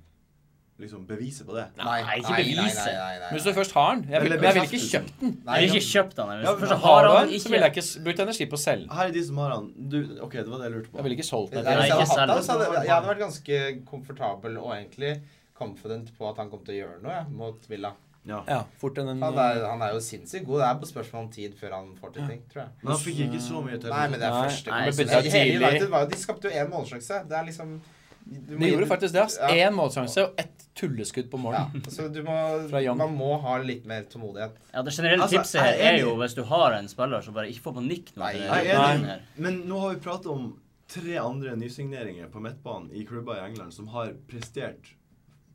liksom beviset på det? Nei, ikke bevise. Men hvis du først har den Jeg Eller ville vil ikke bekreftelse. kjøpt den. Jeg vil ikke kjøpt han. Ja, Hvis men først Har har du han den, så ikke ville jeg ikke s- brukt energi på å selge den. Her er de som har han. Du, OK, det var det jeg lurte på. Jeg ville ikke solgt Det den. der, hvis Nei, jeg, ikke hadde selv. hatt det, så hadde, jeg hadde vært ganske komfortabel og egentlig confident på at han kom til å gjøre noe jeg, mot Villa. Ja. Ja, fort enn en Han er, han er jo sinnssykt god. Det er på spørsmål om tid før han får til ting, tror jeg. Men han fikk ikke så mye til. Nei, men det er Nei, første nei, kamp. så det er Hele tidlig. United var jo- De skapte jo én målsjanse. Det er liksom du må- De gjorde faktisk det. ass. Ja. Én målsjanse og ett tulleskudd på Ja, målen. så du Fra må, Young. man må ha litt mer tålmodighet. Ja, Det generelle Altså, tipset her jeg er er enig. jo hvis du har en spiller, så bare ikke få panikk nå. Nei, til Nei, den jeg er kampen enig. her. Men nå har vi pratet om tre andre nysigneringer på midtbanen i klubber i England som har prestert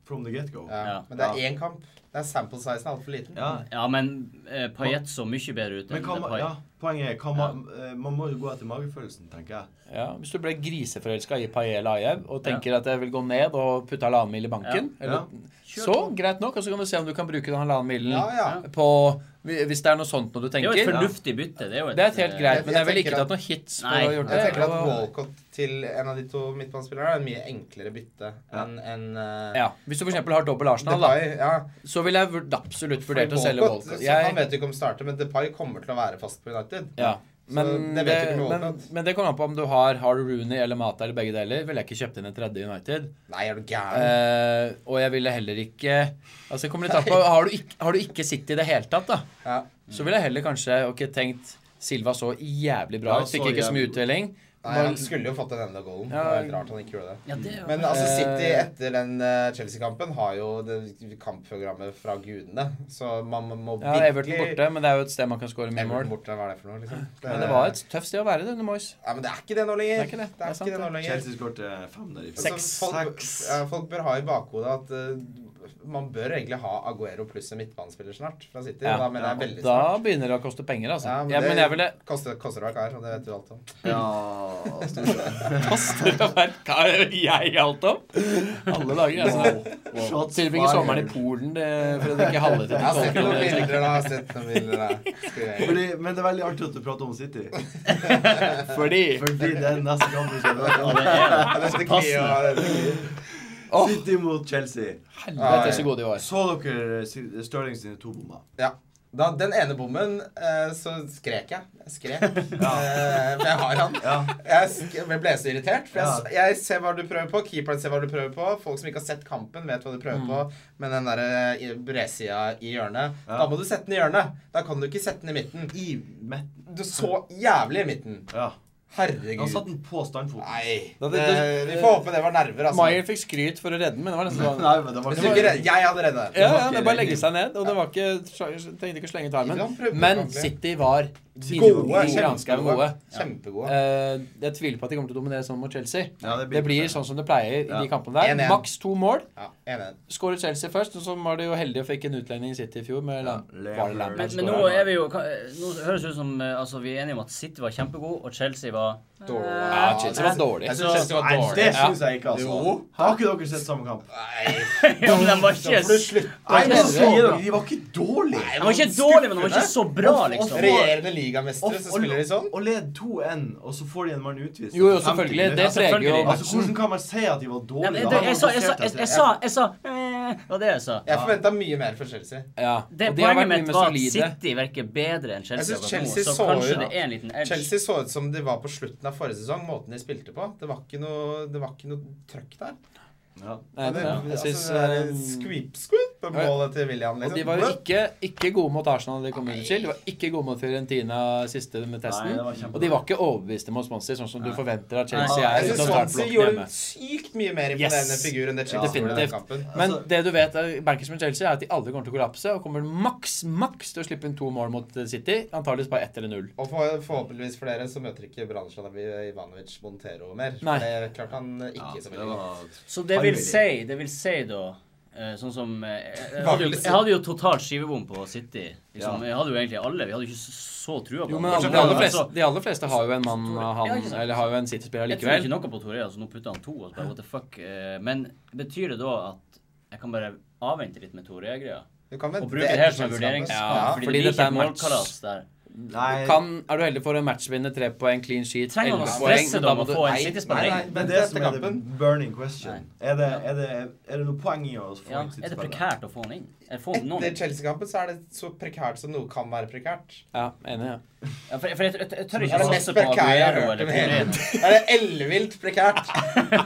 from the get-go. Ja. Ja. Men det er Ja. én kamp. Det er sample sizen altfor liten. Ja. Ja, men eh, Payet så mye bedre ut Men enn hva, ma- Depay. ja, poenget er hva ma- eh, Man må jo gå etter magefølelsen, tenker jeg. Ja, hvis du ble griseforelska i Paye Lajev og tenker at jeg vil gå ned og putte halvannen mil i banken, eller, Kjør så greit nok. Og så kan du se om du kan bruke den halvannen milen Ja, ja. på Hvis det er noe sånt noe du Det er jo et tenker. fornuftig bytte. Det er jo et, eh, Det er et helt greit, Jeg- men jeg jeg ville tenker ikke tatt noen hits for å Nei. ha gjort det. Jeg tenker at Og- Walcott til en av de to midtbanespillerne er et mye enklere bytte Ja. enn enn, eh, ja, Hvis du for eksempel har dobbel Arsenal, da, Depay. Ja. så ville jeg vurd- absolutt vurdert å Fordi selge Walcott, Walcott. så Jeg, Han vet jo ikke om starter, men Depay kommer til å være fast på United. ja. Men Så det det, vet du ikke med men, Walcott. men det kommer an på om du har Har du Rooney eller Mata eller begge deler. Ville jeg ikke kjøpt inn en tredje i United. Nei, er du gæren? Eh, og jeg ville heller ikke Altså kommer litt an på har, du ikke- har du ikke City i det hele tatt, da, ja. så ville jeg heller kanskje ok, tenkt Silva så jævlig Ja, bra ut. Fikk så ikke så mye jævlig. uttelling. Nei, han skulle jo fått den enda goalen. Det Ja. er helt rart han ikke gjorde det. Ja, det er jo Men altså, Eh. City etter den eh, Chelsea-kampen har jo det kampprogrammet fra gudene. Så man må Ja, Everton borte, men det er jo et sted man kan skåre mye Everton mål. borte, hva er det for noe? liksom? Men det var et tøft sted å være det under Moyes. Ja, men det er ikke det nå lenger. Det er ikke det. Det er sant, nå lenger. Chelsea skårte fem der i fjor. Seks. Altså, folk, Seks. ja, folk bør ha i bakhodet at eh, man bør egentlig ha Aguero pluss en midtbanespiller snart fra City. Ja. Da mener jeg Ja, veldig snart. Da begynner det å koste penger, altså. Ja, Ja, men men, det- jeg ville Koster, koster det hva det er, og det vet du alt om. Ja, store. Koster det å være Hva er det jeg alt om? Alle dager, altså. Shots Tilbringe fired. sommeren i Polen det, for å drikke halve til Jeg har sett tolv noen bilder da. Jeg har sett noen bilder da. Skal vi- Fordi, men det er veldig artig at du prater om City. Fordi Fordi det er neste kamp vi skal Ja, møte. det er jo Ja, dette glir, ja, dette glir. Åh, City mot Chelsea. helvete så gode de var. Så dere Sil- Sterling sine to bommer? Ja. Da, den ene bommen, eh, så skrek jeg. Jeg skrek. Ja. Eh, for jeg har han. Ja. Jeg sk- jeg ble så irritert. For jeg, jeg ser hva du prøver på. Keeperen ser hva du prøver på. Folk som ikke har sett kampen, vet hva Mm. du prøver på. Men den derre bredsida i hjørnet Ja. Da må du sette den i hjørnet. Da kan du ikke sette den i midten. I midten. Du så jævlig i midten. Ja. Han satte Herregud. den på standfoten. Nei. Da, det- Det, det- vi får håpe det var nerver, altså. Maier fikk skryt for å redde den, men det var nesten sånn Nei, men det var Hvis du ikke ikke redder- Jeg hadde redda den. ja, ja, det er bare å legge seg ned. Og det var ikke, trengte ikke å slenge ut Han armen. prøvde Men ordentlig. City var Gode. granskauen gode. Kjempegode. Eh, Jeg tviler på at de kommer til å dominere sånn mot Chelsea. Ja, Det blir sånn som det pleier i de kampene der. 1-1. Maks to mål. Ja, enig. Skåret Chelsea først, og så var de jo heldige og fikk en utlending i City i fjor. Med Lam Ja, var det Lampard Men, som men nå skåret? er vi jo Nå høres det ut som eh, altså, vi er enige om at City var kjempegod, og Chelsea var Dårlig. Ja, Chelsea var dårlig. Jeg synes Chelsea var Nei, dårlig. det syns jeg ikke, altså. Jo. Har ikke dere sett samme kamp? Nei, Ja, men de var da ikke får du slutte. Nei, men men så- sier dere, De var ikke dårlige! De var ikke dårlige, men de var ikke så bra, Som liksom. Regjerende ligamestere, så spiller de sånn. og led 2-1, og så får de en mann utvist. Jo, jo, etter 50 selvfølgelig. Det minutter. preger jo selvfølgelig. Altså, Hvordan kan man si at de var Nei, dårlige? men, da? det, jeg, Han sa, jeg, sa, plasserte seg jeg, jeg til- sa Jeg sa eh, Det var det jeg sa. Jeg forventa mye mer fra Chelsea. Ja. Det, Og de har poenget vært mye sånn mitt mer var at solide. City virker bedre enn Chelsea. Jeg akkurat synes nå, Chelsea så, så kanskje ut- det er en liten edge. Chelsea så ut som de var på slutten av forrige sesong, måten de spilte på. Det var ikke noe, det var ikke noe trøkk der. Ja. Nei, det, det, ja. jeg altså, synes, det der eh, squeep, squeep på målet til William. Og Liksom. de var jo ikke, ikke gode mot Arsenal da de kom under til. De var ikke gode mot Fiorentina siste med testen. Nei, det var kjempebra. og de var ikke overbeviste mot Swansea, sånn som du forventer at Ja, Chelsea jeg er. synes uten å ta Altså, Swansea blokken gjorde hjemme. en sykt mye mer imponerende Yes. figur enn det Chelsea gjorde i den Definitivt. kampen. Men Altså- det du vet, eh, bankers med Chelsea, er at de alle kommer til å kollapse og kommer maks, maks til å slippe inn to mål mot eh, City. Antakeligvis bare ett eller null. Og for, forhåpentligvis for dere så møter ikke Branislav Ivanovic Montero mer. Nei. For det klarte han ikke Ja, så det veldig godt. var Så det vil Harry. si, det vil si da eh, Sånn som eh, Jeg hadde jo, jeg hadde jo totalt skivebom på City. Ja. Liksom. Jeg hadde jo egentlig alle. Vi hadde jo ikke så- så trua på Jo, han. men Bortsett fra alle, de, aller han, fleste, så- de aller fleste har jo en mann av Ja, han, ikke sant. eller har jo en City-spiller Jeg tror likevel. ikke noe på Torreira, så nå putter han to. Og så bare, what the fuck eh, Men betyr det da at jeg kan bare avvente litt med Torreira-greia? Du kan vente Og bruke det etter her som en Chelsea-kampen. vurderingskamp? fordi, Ja, fordi det blir dette er ikke match. målkalas der. Nei, Kan, er du heldig for en matchvinner, tre poeng, clean sheet, Trenger man å 11 stresse da med å få en Nei, nei, City-spiller? nei. men det neste som er det kampen. burning question. Er det, er det, er det noe poeng i å få Ja, inn sitt er det spill? prekært å få han inn? Er det få han noen? Etter Chelsea-kampen så er det så prekært som noe kan være prekært. Ja, enig, ja. Ja, for, for jeg, jeg, jeg tør Det sånn er ikke det mest satse på prekære jeg har Aguero hørt eller om hele Torino. Det er ellevilt prekært.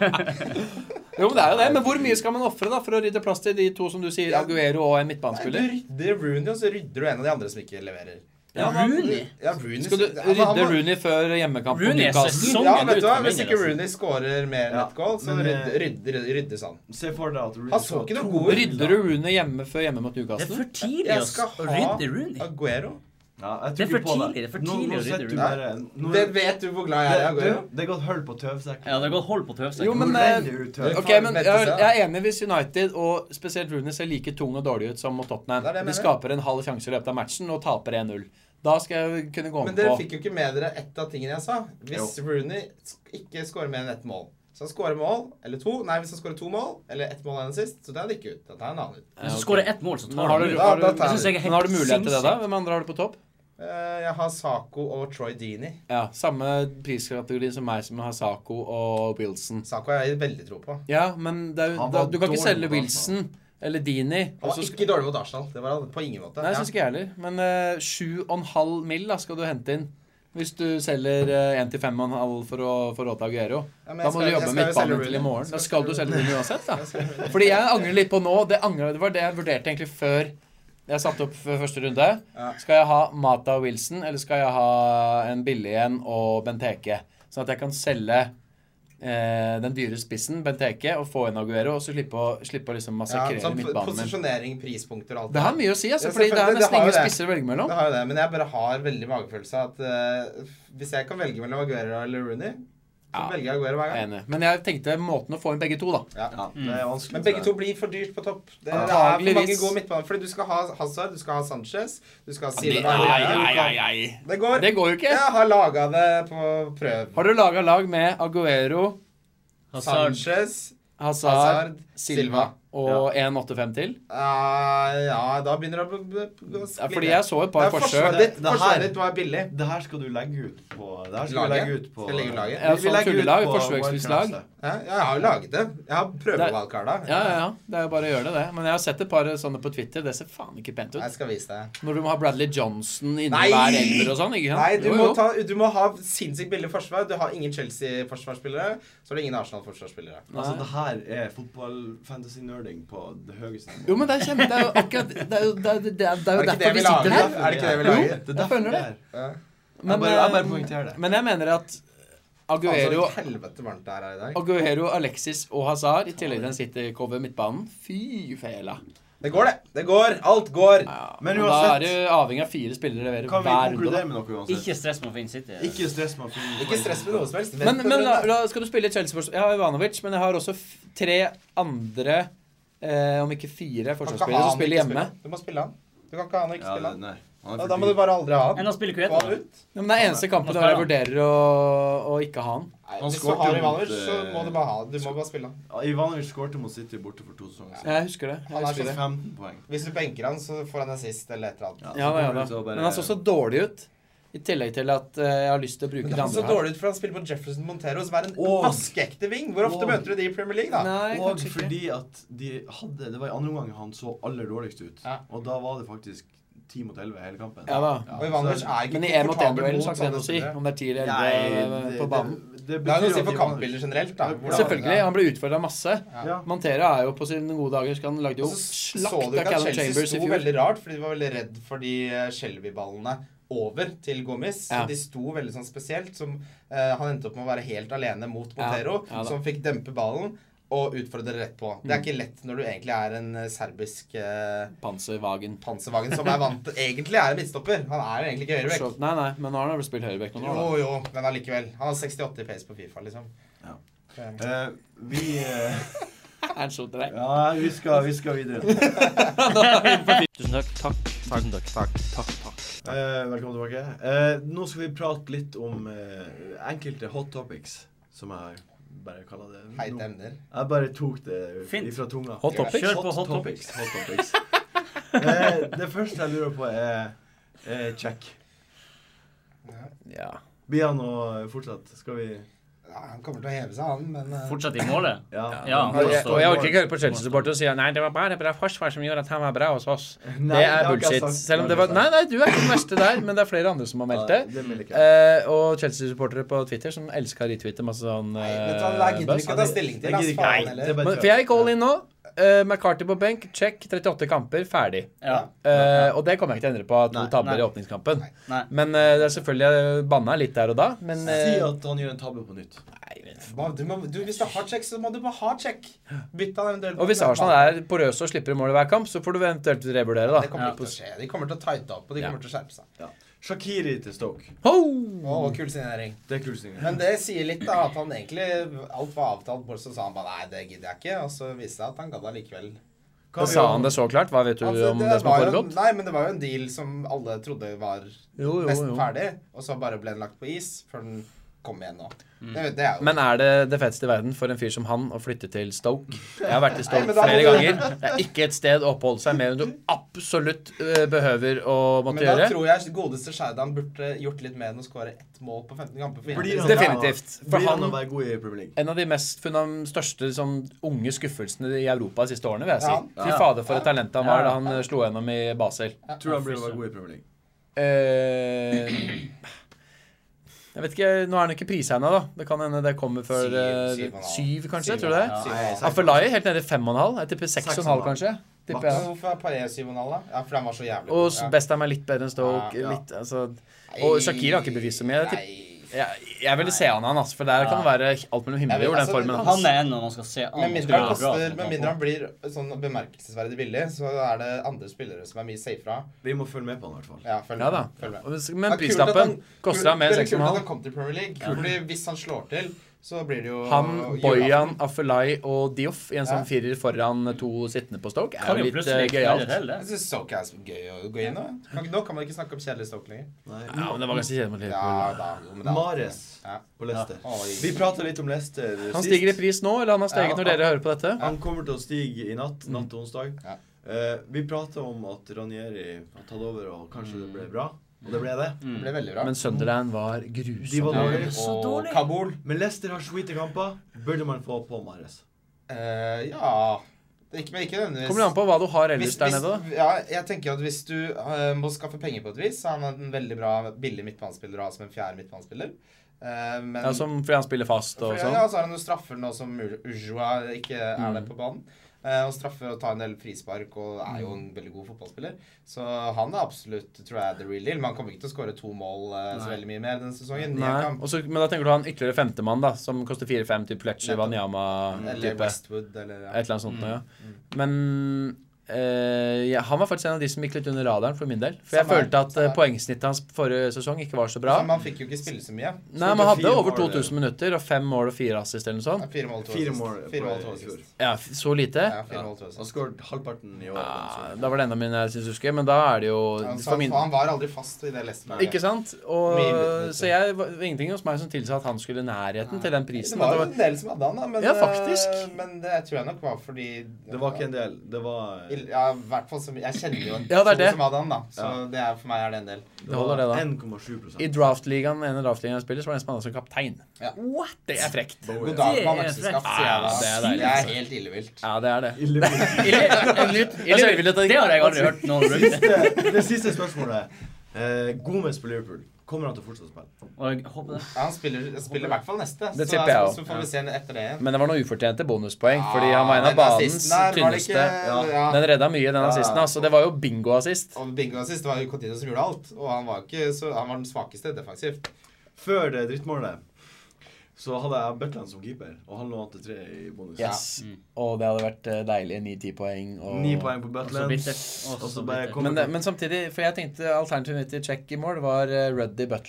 Jo, men det er jo det. Men hvor mye skal man ofre da, for å rydde plass til de to som du sier, Ja. Aguero og en Nei, Du midtbanespiller? rydder Rooney, og så rydder du en av de andre som ikke leverer. Ja, men- Rooney? Ja, Rooney Skal du ja, men han rydde var- Rooney Sånn før hjemmekamp på Rooney er Newcastle? sesong- Ja, vet ut du hva, for Hvis min ikke del, altså. Rooney scorer mer Ja, nettgoal, så men, rydder, eh, rydder, ryddes han. Se for deg at Rooney Han så skal ikke ha noe to god ut. bilder. Rydder du Rooney hjemme før hjemme mot Det er Newcastle? for tidlig Jeg å skal å ha rydde Rooney. Aguero. Ja, jeg tror ikke Det er for på tidlig, det er for Nå- tidlig Nå å sitter rydde du Rooney. bare nå- Det vet du hvor glad jeg er i det, Aguero. du, det er gått hull på tøvsekken. Ja, det har gått hold på tøvsekken. Jo, men, Nå eh, renner ut tøv. det- Ok, men jeg, jeg er enig hvis United og spesielt Rooney ser like tung og dårlig ut som mot Det er det jeg Tottenham. De mener. skaper en halv sjanse i løpet av matchen og taper 1-0. Da skal jeg kunne gå Men med dere på fikk jo ikke med dere ett av tingene jeg sa. Hvis Rooney sk- ikke scorer mer enn ett mål Så han scorer mål, eller to Nei, hvis han scorer to mål, eller ett mål enn sist, så det er det ikke ut. Da tar jeg en annen ut. Hvis Ja, du ok. skårer ett mål, så Men tar har han du, ut. Ja, har, da du, tar jeg Jeg synes jeg er helt men har du mulighet til det, da? sinnssykt. Hvem andre har du på topp? Eh, jeg har Saco og Troy Deeney. Ja, Samme priskategori som meg, som har Sako og Wilson. Saco har jeg veldig tro på. Ja, men det er, jo- Han da, var du kan ikke dårlig selge mot Arsenal. Wilson eller Dini. Han og var så ikke skal- dårlig mot Arsenal. Det var han på ingen måte. Nei, jeg Ja. syns ikke jeg heller. Men eh, 7,5 mill. da skal du hente inn. Hvis du selger eh, 1 til 5,5 for å få råd til Aguero. Ja, men Da må jeg skal- du jeg jobbe skal med jo midtbanen selge til i Rooney. morgen. Da Jeg skal du selge selge den uansett, da. Jeg skal selge Rooney. Fordi jeg angrer litt på nå. Det, angrer, det var det jeg vurderte egentlig før jeg satte opp for første runde. Ja. Skal jeg ha Mata og Wilson, eller skal jeg ha en billig en og Benteke? Sånn at jeg kan selge eh, den dyre spissen, Benteke, og få inn Aguero, og så slippe å, slippe å liksom Ja, massakrere sånn midtbanen min. posisjonering, prispunkter og alt Det har mye å si, altså, Ja, fordi det selvfølgelig, er det nesten har jo ingen det. spisser å velge mellom. Det har jo det, men jeg bare har veldig magefølelse at eh, hvis jeg kan velge mellom Aguero eller Rooney, så Ja. velger jeg Aguero hver Jeg er gang. enig. Men jeg tenkte måten å få inn begge to, da. Ja, det Mm. er vanskelig. Men begge to blir for dyrt på topp. Det, det er for mange Antageligvis. gode midtbaner. Fordi du skal ha Hazard, du skal ha Sanchez, du skal ha Det, Silva. nei, Aguero. nei, nei, nei. Det går. det går jo ikke. Jeg har laga det på prøve. Har du laga lag med Aguero, Hazard. Sanchez Hazard, Hazard, Silva Silva. og 1,85 til? eh, Ja, da begynner det å b- b- b- Ja, skli fordi ned. jeg så et par Det er forsøk. Forsvaret ditt, Det- det her- forsvaret ditt var billig. Det her skal du legge ut på Det her skal Laget? vi legge ut på Skal jeg legge ut laget? Ja, Vi- sånn vi legger ut tullelag, på forsøksvis Wildcard, lag. Ja, jeg har jo laget det. Jeg har prøvevalgkarta. Ja, ja, ja. Det er jo bare å gjøre det, det. Men jeg har sett et par sånne på Twitter. Det ser faen ikke pent ut. Jeg skal vise deg. Når du må ha Bradley Johnson inne Nei! i hver elver og sånn. ikke sant? Nei, du Jo, må, jo. ta, du må ha sinnssykt billig forsvar. Du har ingen Chelsea-forsvarsspillere. Så har du ingen Arsenal-forsvarsspillere. Altså, Nei. det her er fotball-fantasy-nerding på det høyeste nivå. Jo, men det er kjempe... Det er jo akkurat Det er jo, det er, det er, det er Er jo det ikke det derfor vi vi sitter lager? her. Er det ikke det vi Jo. lager? Det er Jeg derfor føler vi det. er her. Ja. Jeg Men, bare, jeg bare eh, poengterer det. men jeg mener at Aguero, Altså, helvete varmt det er her i dag. Aguero, Alexis og Hazard, i tillegg til en City-cover midtbanen Fy fela. Det går, det. Det går. Alt går. Ja, Men men da uansett- er du avhengig av fire spillere leverer Kan vi hver runde. da. konkludere med noe uansett? Ikke stress med å finne City. Ikke stress med å finne Ikke stress med noe som helst. Men, Vent men og la, brød. la, skal du spille Chelsea-forsvar? Jeg har Ivanovic, men jeg har også f tre andre, eh, om ikke fire, Du kan ikke ha forsvarsspillere han som spiller ikke hjemme. spille. Du må spille han. Du kan ikke ha han og ikke Ja, spille det, han. nei. Han Da, er da må du bare aldri ha Men altså- han. han spiller Få Kueta. han ut. Ja, men det er eneste kampen der jeg vurderer å, å ikke ha han. Nei, Han hvis du skårte har jo mot, Ivanovic, så eh, må du bare ha han. Du må bare spille han. Ja, Ivanovic skårte mot City borte for to sesonger siden. Jeg husker det. Han Jeg er husker så det. 15 poeng. Hvis du benker han, så får han en sist eller et eller annet. Ja, da, ja, da. Så bare- Men han så så dårlig ut. I tillegg til at eh, jeg har lyst til å bruke Men det det er så andre her. dårlig ut, for han spiller på Jefferson Montero, som er en Åh. vaskeekte wing. Hvor ofte Åh. møter du de i Premier League, da? Nei, Og kanskje ikke. fordi at de hadde Det var i andre omgang han så aller dårligst ut. Ja. Og da var det faktisk 10 mot 11 hele kampen. Ja da. Og Ivanovic er ikke Men i 1 mot 1 komfortabel duellen mot så har ikke det sånne noe å si spillere. om det er 10 Nei, eller 11 det- på banen. Det, det Det er noe å betyr si at for Ivanovic- kampbilder generelt, da. Ja, Hvordan- Selvfølgelig. Han ble utfordra masse. Ja. Montera er jo på sine gode dager så han lagde jo Og Altså, så så slakt du av ikke at Callum Chelsea Chambers i sto fjor. veldig rart, fordi de var veldig redd for de eh, Shelby-ballene over til Gomez. Så Ja. de sto veldig sånn spesielt. Som, eh, han endte opp med å være helt alene mot Ja, Montero, ja da. Mm. som fikk dempe ballen og utfordre rett på. Det er ikke lett når du egentlig er en eh, serbisk eh, Panservagen. panservagen som er vant Egentlig er en midtstopper. Han er jo egentlig ikke høyrebekk. Så- Nei, nei, men nå har han vel spilt høyrebekk noen år, da. Jo, jo, men allikevel. Han har 68 i pace på Fifa, liksom. Ja. Eh, Eh, vi, eh, Er han så drei? ja, vi, skal, vi skal videre. Tusen takk. Takk. Tusen takk. Eh, velkommen tilbake. Eh, nå skal vi prate litt om eh, enkelte hot topics, som jeg bare kaller det. Heite nå. emner. Jeg bare tok det Fint. ifra tunga. Hot topics? Kjør på Hot hot topics. eh, det første jeg lurer på, er eh, check. Ja. Blir han å fortsette? Skal vi Ja, han kommer til å heve seg, han, men eh, Fortsatt i målet? Ja. Ja, Og jeg, og jeg også. orker ikke høre på Chelsea-supportere og si nei, det var bare bra forsvar som gjorde at han var bra hos oss. Nei, det har er ikke jeg bullshit. sagt. Selv om det var Nei, nei, du er ikke den verste der, men det er flere andre som har meldt det. Nei, det melder ikke jeg. Eh, og Chelsea-supportere på Twitter som elsker å retwitte masse sånn Nei, vet du hva, eh, det der gidder vi buzz. ikke å ta stilling til, ass. Jeg gidder ikke. Nei, Faen det er heller. bare Men- kjør. For jeg gikk all in nå. Eh, McCarthy på benk, check. 38 kamper, ferdig. Ja. Eh, og det kommer jeg ikke til å endre på. To Nei, tabber nei. i åpningskampen. Nei. Men eh, det er selvfølgelig jeg banna litt der og da. Men Si eh, at han gjør en tabbe på nytt. Hva- Du, må, du, hvis det er hard check, så må du bare hard check. Bytte han eventuelt. Og hvis Arsenal er porøse og slipper i mål i hver kamp, så får du eventuelt revurdere, da. Det kommer ikke til å skje. De kommer til å tighte opp, og de Ja. kommer til å skjerpe seg. Ja. Shakiri til Stoke. Ho! Og kul signering. Det er kulsingen. Men det sier litt, da, at han egentlig Alt var avtalt, bortsett fra han bare Nei, det gidder jeg ikke. Og så viste det seg at han gadd allikevel. Kan vi Sa jo- han det så klart? Hva vet du Altså, om det som var har jo- foregått? Nei, men det var jo en deal som alle trodde var Jo, jo, nesten jo. ferdig, og så bare ble den lagt på is før den kom igjen nå. Det, det er jo Mm. Men er det det feteste i verden for en fyr som han å flytte til Stoke? Jeg har vært i Nei, Stoke men da må flere du- ganger. Det er ikke et sted å oppholde seg mer enn du absolutt eh, behøver å måtte Men da gjøre. tror jeg godeste Sheidan burde gjort litt mer enn å skåre ett mål på Liksom. 15 kamper. For Blir han- Definitivt. For Blir han å han være god i Premier League? en av de mest fundam- største sånn, unge skuffelsene i Europa de siste årene, vil jeg Ja. si. Fy fader, for et talent han var da han eh, slo gjennom i Basel. Tror du han blir å være god i Premier League? Eh, jeg vet ikke, Nå er han jo ikke prisegna, da. Det kan hende det kommer før Syv- syv og en syv, halv. syv kanskje? Syv tror du det? og en halv. Nei, Syv og en halv. Afelai er helt nede i fem og en halv. Jeg tipper seks og en halv, Seks kanskje. Tipper Men jeg. Hvorfor er Paillet 7,5, da? Ja, for han var så jævlig Og god. Ja. Bestham er litt bedre enn Stoke. Ja, ja. Litt, altså. Og Shakir har ikke bevist så mye. Jeg, tipper- Nei. jeg, jeg ville se han, han altså, for der kan det være alt mellom himmel og jord, den Jeg vil- formen altså. hans. Han er en når man skal se an. Med og mindre, skal gjøre det bra, han som koster, med kan mindre få. han blir sånn bemerkelsesverdig billig, så er det andre spillere som er mye safe fra. Vi må følge med på han i hvert fall. Ja, følg Ja da. med. Følg med. Og hvis- Ja, Men kult at prislappen han- koster han mer enn Veldig seks og en kult at halv. han kom til Premier League. Fordi hvis han slår til, så blir det jo Han, Bojan, Afelai og Dioff i en sånn Ja. firer foran to sittende på Stoke Kan jo er jo litt eh, plutselig knelle gøyalt. til, det. Jeg syns Stoke er så gøy å gå inn i. Kan- Nå kan man ikke snakke om kjedelig Stoke lenger. Nei. Ja, men det var ganske kjedelig mot Ja Liverpool. da, jo, men det er Mares Ja. på Leicester. Ja. Oi. Vi prata litt om Leicester sist. Han stiger i pris nå, eller han har steget Ja, når dere hører på dette? Han kommer til å stige i natt. Mm. Natt til onsdag. Ja. Eh, vi prata om at Ranieri har tatt over, og kanskje det ble bra. Og det ble det. Det ble veldig bra. Men Sunderland var De var grusom. dårlige. så og dårlig. Kabul Men Leicester har sweete kamper. Burde man få på Mares? eh, Ja Det er Ikke, men ikke nødvendigvis Kommer det an på hva du har ellers der nede, da? hvis, ja, jeg tenker at hvis du eh, må skaffe penger på et vis, så er han en veldig bra billig midtbanespiller å ha som en fjerde midtbanespiller. Eh, men Ja, som fordi han spiller fast og For- sånn? Mm. Ja, altså, så har han jo straffer nå som Ur- Urjoa ikke er der på banen. Eh, og straffer og tar en del frispark og er jo Mm. en veldig god fotballspiller. Så han er absolutt, tror jeg, the real deal. Men han kommer ikke til å skåre to mål eh, så veldig mye mer denne sesongen. Ni Nei. kamp. og så- men da tenker du han ytterligere femtemann, da, som koster 4-5, type Fletcher, Nettopp. Wanyama-type. Eller Et Westwood, eller ja. eller annet sånt noe, ja. Mm, Men eh, ja, han var faktisk en av de som gikk litt under radaren for min del. For jeg Samme her, følte at samme eh, her. poengsnittet hans forrige sesong ikke var så bra. Så man fikk jo ikke spille så mye. Nei, man hadde fire over mål, 2000 minutter og fem mål og fire assist eller noe Ja, sånt. Fire mål, to Fire assist. mål på- Fire mål, to i fjor. assist. Ja, f- så lite. Ja, fire mål, to Han assist. Ah, skåret halvparten i år. Ja, men så- da var det enda min jeg syns husker, men da er det jo Han, sa- for min han var aldri fast i det Leicester-laget. Ikke sant? Og, Mye minutter. så jeg, var- ingenting hos meg som tilsa at han skulle i nærheten til den prisen. Det var At jo det en del som hadde han, da. Men, Ja, faktisk. eh, men det tror jeg nok var fordi Det var ikke en del. Det var, I- Ja, i hvert fall som Jeg kjenner jo en Ja, det er to det. som hadde han, da. Så Ja. det er, for meg er det en del. det holder det, var da. 1,7 I draftligaen, den ene draftligaen jeg spiller, så var det en som hadde som kaptein. Ja. What? Det er frekt. Bowie. God dag, Det mann. er frekt. Økseskaft, sier jeg da. Ah, det er Det deilig, er helt illevilt. Ja, det er det. I Liverpool. Altså, Det har jeg aldri hørt noen bruke. Siste- Det siste spørsmålet. Eh, Gomez på Liverpool. Kommer han til å fortsette å spille? Og jeg håper det. Ja, han spiller, spiller i hvert fall neste. Det så tipper jeg er- også. Så får vi se etter det igjen. Men det var noen ufortjente bonuspoeng, fordi han var en av den banens assisten her, var det tynneste. ikke- ja. Den redda mye, den Ja. assisten. Altså, det var jo bingo-assist. Og bingo assist det var jo Coutinho som gjorde alt. Og han var, ikke, så, han var den svakeste defensivt. Før det drittmålet så hadde jeg Butland som keeper, og han lå an til tre i bonus. Yes. Mm. Og det hadde vært eh, deilig. 9-10 poeng. Og... Ni poeng Altså, på Og så Butland. bittert. Og Og så så bare bittert. kom Men, det- men samtidig, for jeg tenkte alternativet mitt til check i mål var eh,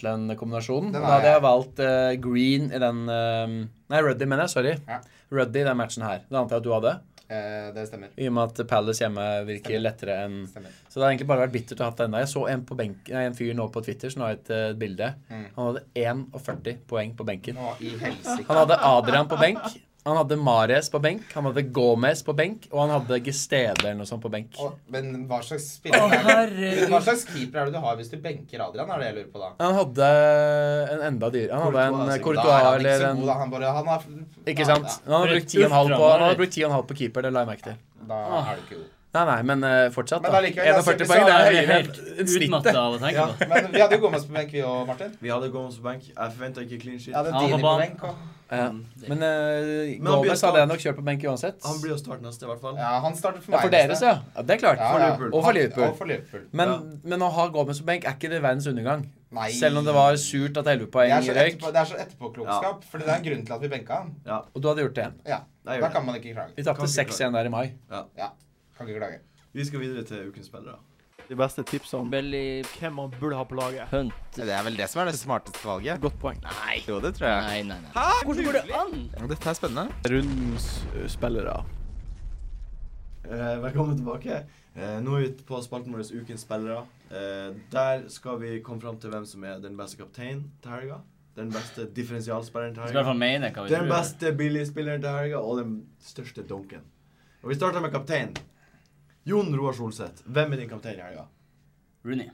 Ruddy-Butland-kombinasjonen. Den Da er hadde jeg. jeg valgt eh, Green i den eh, Nei, Ruddy, mener jeg. Sorry. Ja. Ruddy i den matchen her. Det antar jeg at du hadde. Eh, det stemmer. I og med at Palace hjemme virker lettere enn stemmer. Så det har egentlig bare vært bittert å ha hatt den der. Jeg så en, på benk, nei, en fyr nå på Twitter som la ut eh, et bilde. Mm. Han hadde 41 poeng på benken. Nå i helsike. Han hadde Adrian på benk, Han hadde Mares på benk, han hadde Gomez på benk, og han hadde Gestede eller noe sånt på benk. Å, Men hva slags spiller er det? herregud. Hva slags keeper er det du har hvis du benker Adrian? er det jeg lurer på da? Han hadde en enda dyr Han hadde en Courtois, Da er Courtois han ikke eller så en god, da. Han bare han er, Ikke Nei, sant? Han hadde brukt 10,5 på, han hadde brukt 10,5 på keeper, det la jeg merke til. Da, da Ah. er du ikke god. Nei, nei, men eh, fortsatt, Men da. allikevel, 41 altså, poeng, det hvis er Jeg er høyere helt enn utmattet snittet. av å tenke Ja, på. men vi hadde jo Gomez på benk, vi og Martin. Vi hadde Gomez på benk. Jeg forventa ikke clean shit. Vi hadde Ja, Dini på på banen. benk også. Ja. Men eh, Men han blir Gomez hadde jeg nok kjørt på benk uansett. Han blir å starte neste, i hvert fall. Ja, han starter for Ja, meg. for deres, neste. ja. ja. Det er klart. Ja, For ja. Liverpool. Og for Liverpool. Og for Liverpool. Men, Ja. men å ha Gomez på benk er ikke det verdens undergang. Nei. Selv om det var surt at 11 Det poeng er så røyk. etterpå- det er så etterpåklokskap, for det er en grunn til at vi benka han. Og du hadde gjort det igjen. Ja, Nei, gjør Da det. kan man ikke klage. Vi Kan tapte ikke 6-1 der i mai. Kan ikke klage. Vi skal videre til ukens spillere. De beste tipsene om Belly hvem man burde ha på laget. Hunt. Det er vel det som er det smarteste valget. Godt poeng. Nei. Jo, det tror Nei, nei, nei. Hvordan går det an? Dette er spennende. Rundens eh, spillere. Eh, velkommen tilbake. Eh, nå er vi på spalten vår Ukens spillere. Eh, der skal vi komme fram til hvem som er den beste kapteinen til helga. Den beste differensialspilleren til Vi skal i helga. hvert fall mene hva vi Den tror. beste billigspilleren til helga, og den største donken. Og vi starter med kapteinen. Jon Roar Solseth, hvem er din kaptein i helga? Rooney.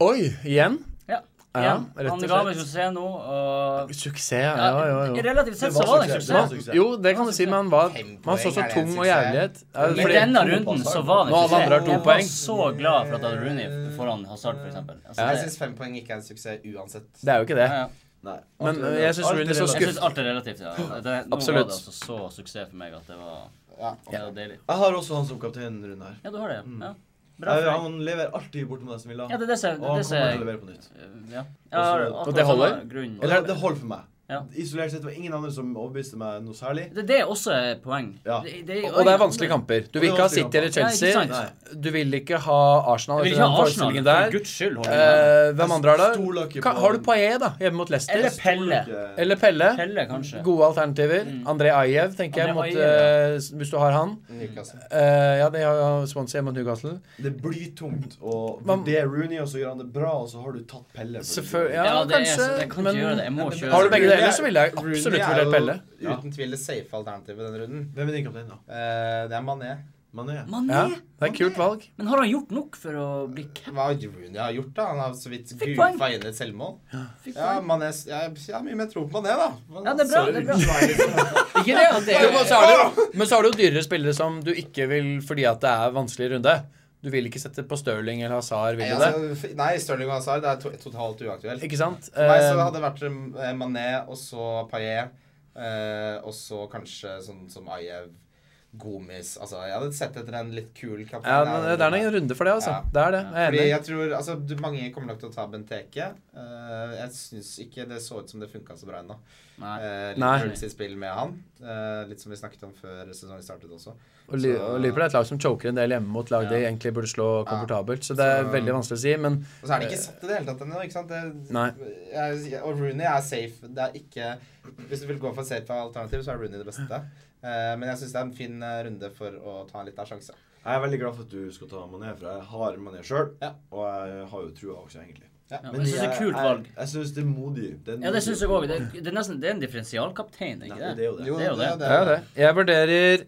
Oi, igjen? Ja. Ja, ja rett og han ga meg slett. suksess nå, og Suksess, ja, ja, ja, ja. Relativt sett Det var så var det en suksess. suksess. suksess. Jo, det kan du si, men han var Fem Man så poeng så er det en tung og suksess. jævlig ut. Ja, Men I fordi- denne runden så var det Nå, en alle suksess. andre har to Jeg poeng. var så glad for at jeg hadde Rooney foran Hazard, for eksempel. Altså, Jeg det- syns fem poeng ikke er en suksess uansett. Det er jo ikke det. ja, ja. Nei. Men, alt er- eh, jeg synes alt er Rooney så relativt. Jeg syns alt er relativt. ja. Det, nå Absolutt. var det altså så suksess for meg at det var, Ja. det var deilig. Jeg har også han som kaptein rundt her. Ja, du har det. Mm. Ja. Bra Jeg, for deg. han lever alltid bortom det som vil ha. Ja, det er det som Og han det som- kommer til å levere på nytt. Ja. Jeg har Og så- akkurat Eh, Altså, Og det holder? samme grunn. Og det, det holder for meg. Ja. Isolert sett var det ingen andre som overbeviste meg noe særlig. Det, det er også et poeng. Ja. Og og det er vanskelige kamper. Du vil Og det er ikke ha vanskelige City eller kamper. Chelsea. Ja, ikke Nei. Du vil ikke ha Arsenal. Jeg vil ikke etter Altså, den ha Arsenal, for forestillingen der. guds skyld. holder jeg med. Eh, hvem andre har Stoler det? ikke Ka- på- Har du Paillet, da? Hjemme mot Leicester. Eller Pelle. Eller Eller Pelle. Pelle, kanskje. Gode alternativer. André Ajev, tenker jeg, André mot, Ayew, eh, s- hvis du har han. Newcastle. Eh, ja, de har jo Swansea mot Newcastle. Det blir tungt å Man- vurdere Rooney, og så gjør han det bra, og så har du tatt Pelle. for det. Selvfølgelig. Ja, Ja, det er kanskje. så- jeg kan ikke men gjøre det. Jeg må kjøre. har du begge Rooney deler, er- så ville jeg absolutt Rooney er vurdert jo Pelle. Uten tvil det safe alternativet i denne runden. Hvem er din kaptein, da? Eh, det er Mané. Mané? Mané? Ja, det er et kult valg. Men har han gjort nok for å bli cap? Hva har Rooney har gjort, da? Han har så vidt Fikk poeng. goofa inn et selvmål. Fy Ja, faen. Mané Jeg jeg har mye mer tro på Mané, da. Ja, det er bra. det er bra. Ikke det at det Jo, men, så er det, men så har du jo dyrere spillere som du ikke vil fordi at det er vanskelig runde. Du vil ikke sette på Stirling eller Hazard, vil Nei, du det? altså, nei, Stirling og Hazard det er to totalt uaktuelt. Ikke sant? For meg så Eh, hadde det vært eh, Mané og så Paillet. eh, og så kanskje sånn som Ajev, Gomis Altså, jeg hadde sett etter en litt kul kaptein. ja, men det er nok en runde for det, altså. Ja. Det er det. Jeg er Fordi enig. jeg tror, altså, du, Mange kommer nok til å ta Benteke. Eh, jeg syns ikke det så ut som det funka så bra ennå. Nei. Eh, Nei. Liverpool sitt spill med han. Eh, litt som vi snakket om før sesongen startet også. Og Li- så- og Liverpool er et lag som choker en del hjemme mot lag de egentlig burde slå komfortabelt. Så det er Så- veldig vanskelig å si, men Og så er det ikke satt i det hele tatt ennå. ikke sant? Det, Eh, Nei. Jeg, og Rooney er safe. Det er ikke Hvis du vil gå for safe alternativ, så er Rooney det beste. Eh, men jeg syns det er en fin eh, runde for å ta en liten sjanse. Jeg er veldig glad for at du skal ta Mané, for jeg har Mané sjøl. Ja. Og jeg har jo trua også, egentlig. Ja. Ja, jeg syns det er et jeg, kult valg. jeg, jeg syns det er modig. Det er Ja, det syns jeg òg. modig. Det, det er nesten det er en differensialkaptein, er Nei, det ikke det? er jo det. det er jo det. det er jo det. Jeg vurderer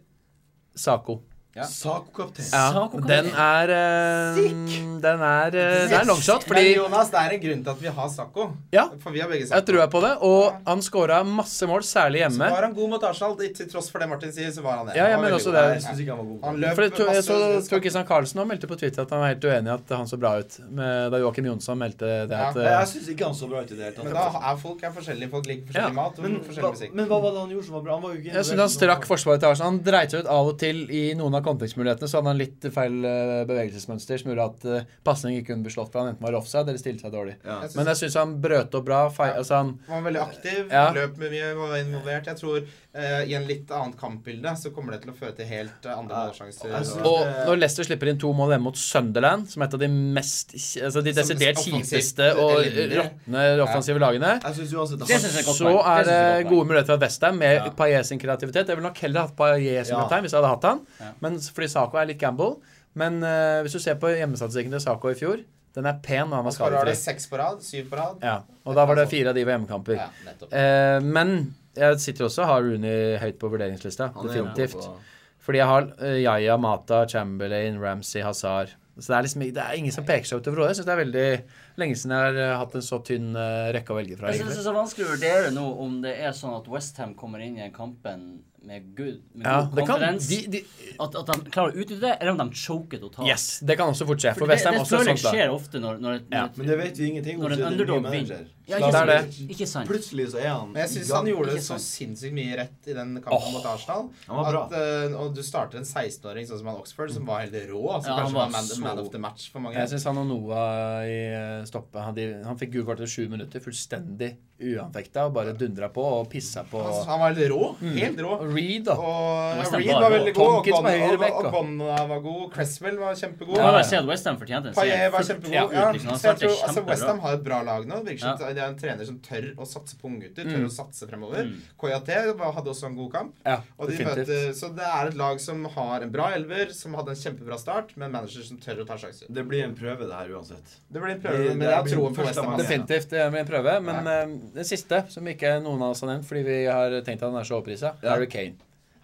Sako. Ja. Saco-kaptein. Ja, Sako kan den vi- er eh, Den er eh, Det er longshot, Men fordi Jonas, det er en grunn til at vi har Sakko. Ja. For vi har begge jeg Sakko. tror jeg på det. Og han scora masse mål, særlig Så hjemme. var han god mot Arsenal. Til tross for det Martin sier, så var han det. Ja, jeg Han var mener veldig også god. Jeg det. syns ikke han var god. Han på det. løp For det tror, jeg så masse- tror Kristian Karlsen også meldte på Twitter at han var helt uenig i at han så bra ut. Med, da Joakim Jonsson meldte det at Ja, Jeg, eh, jeg syns ikke han så bra ut i det hele tatt. Men da er folk er forskjellige. Folk liker Ja. forskjellig mat og men, forskjellig hva, musikk. men hva var det han gjorde som var bra? Han var jo ikke Jeg synes han strakk forsvaret til Arsenal. Han dreit seg ut av og til i noen av kontekstmulighetene. Så hadde han litt feil eh, bevegelsesmønster som gjorde at eh, pasning ikke kunne bli slått for han enten var offside eller stilte seg dårlig. Ja. Jeg synes Men jeg syns han brøt opp bra. Fei, altså han Han var veldig aktiv, Ja. løp med mye, var involvert. Jeg tror eh, i en litt annet kampbilde så kommer det til å føre til helt eh, andre Ja. målsjanser. Jeg synes- og- og når Leicester slipper inn to mål hjemme mot Sunderland, som er et av de mest altså de Som desidert offensivt kjipeste og elendig. råtne offensive lagene, Jeg synes uansett Det synes jeg er godt så poeng. er Det synes det jeg er godt gode muligheter for Westham med Ja. Paillet sin kreativitet. Jeg ville nok heller hatt Paillet som Ja. kaptein hvis jeg hadde hatt han. Ja. Men fordi Sako er litt gamble. Men eh, hvis du ser på hjemmestatistikken til Sako i fjor Den er pen når han var Så har du skadefri. seks på rad, syv på rad. Ja, og da var det fire av de var hjemmekamper. Ja, nettopp. Eh, men jeg sitter også og har Rooney høyt på vurderingslista. Han er inne Definitivt. på- Fordi jeg har eh, Yaya, Mata, Chamberlain, Ramsey, Hazar. Så det er liksom det er ingen som peker seg ut overhodet. Jeg syns det er veldig lenge siden jeg har eh, hatt en så tynn eh, rekke å velge fra. Jeg synes egentlig. det er så vanskelig å vurdere nå om det er sånn at Westham kommer inn i den kampen med good, med Ja, god det kan, konferanse. de, de, At, at de klarer å utnytte det, eller om de choker totalt. yes, det kan også fort skje. For For det, Westham det også sånn føler sånt jeg lag. skjer ofte når, når, et, Ja. når, Men det vet vi ingenting om. Når en siden det er ny underdog manager. vinner. Ja, Slavic. ikke sant. et, Ikke sant? Plutselig så er han Men jeg syns i gang. han gjorde ikke sant. så sinnssykt mye rett i den kampen Åh, mot Arsenal. han var bra. At, eh, og du starter en 16-åring sånn som han Oxford, som var helt rå. Som Ja, han kanskje var var man, så- man of the match for mange. Jeg syns han og Noah i eh, stoppet Han, de, han fikk gult kort etter sju minutter, fullstendig uanfekta, og bare dundra på og pissa på. Han, han var helt rå. Helt rå. Og Reed, da. Og West Ham Reed var var rå. veldig god. Tompkins var Ogonna- høyreback, og- Og Bonna var god. Cresswell var kjempegod. Jeg må Ja, ja. bare si at Westham fortjente en Paillet var fullt kjempegod. ut, Ja, liksom. Han så jeg starter tror, altså, kjempebra. Westham har et bra lag nå. Det virker som Ja. t- det er en trener som tør å satse på unggutter. Tør Mm. å satse fremover. Mm. KJT hadde også en god kamp. Ja, Og de definitivt. møter, så det er et lag som har en bra elver, som hadde en kjempebra start, med en manager som tør å ta sjanser. Det blir en prøve, det her uansett. Det blir en Det- prøve, men det jeg har blir troen på første West Ham. mann. altså. Definitivt det blir en prøve. Men eh, den siste, som ikke noen av oss har nevnt fordi vi har tenkt at han er så overprisa, Ja. Harry Kane.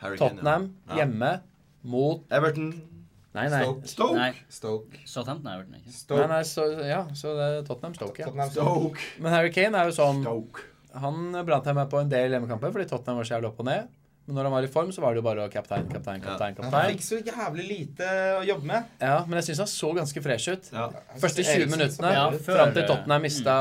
Harry Kane, Tottenham ja. hjemme mot ja. Everton. Nei, nei. Stoke. Stoke. Nei, Stoke. Southampton har jeg hørt den ikke. nei, Stoke. nei så, ja, så det er Tottenham Stoke, ja. Tottenham. Stoke. Men Harry Kane er jo sånn Stoke. Han brant jeg meg på en del hjemmekamper fordi Tottenham var så jævlig opp og ned. Men når han var i form, så var det jo bare å kaptein, kaptein, kaptein. Men Han kaptein. fikk så jævlig lite å jobbe med. Ja, Men jeg syns han så ganske fresh ut. Ja. Jeg synes Første 20 Eriksen Mm. så minuttene bra Ja, ut. før- fram til Tottenham mista